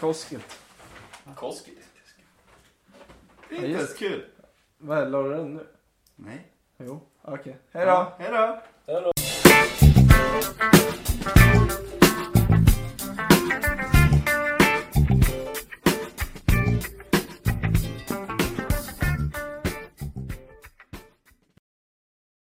Speaker 4: Kosket.
Speaker 3: Koskit.
Speaker 2: Det är inte
Speaker 4: just-
Speaker 2: ens kul.
Speaker 4: Vad la du den nu?
Speaker 2: Nej.
Speaker 4: Jo, okej. Hej då!
Speaker 2: Hej då.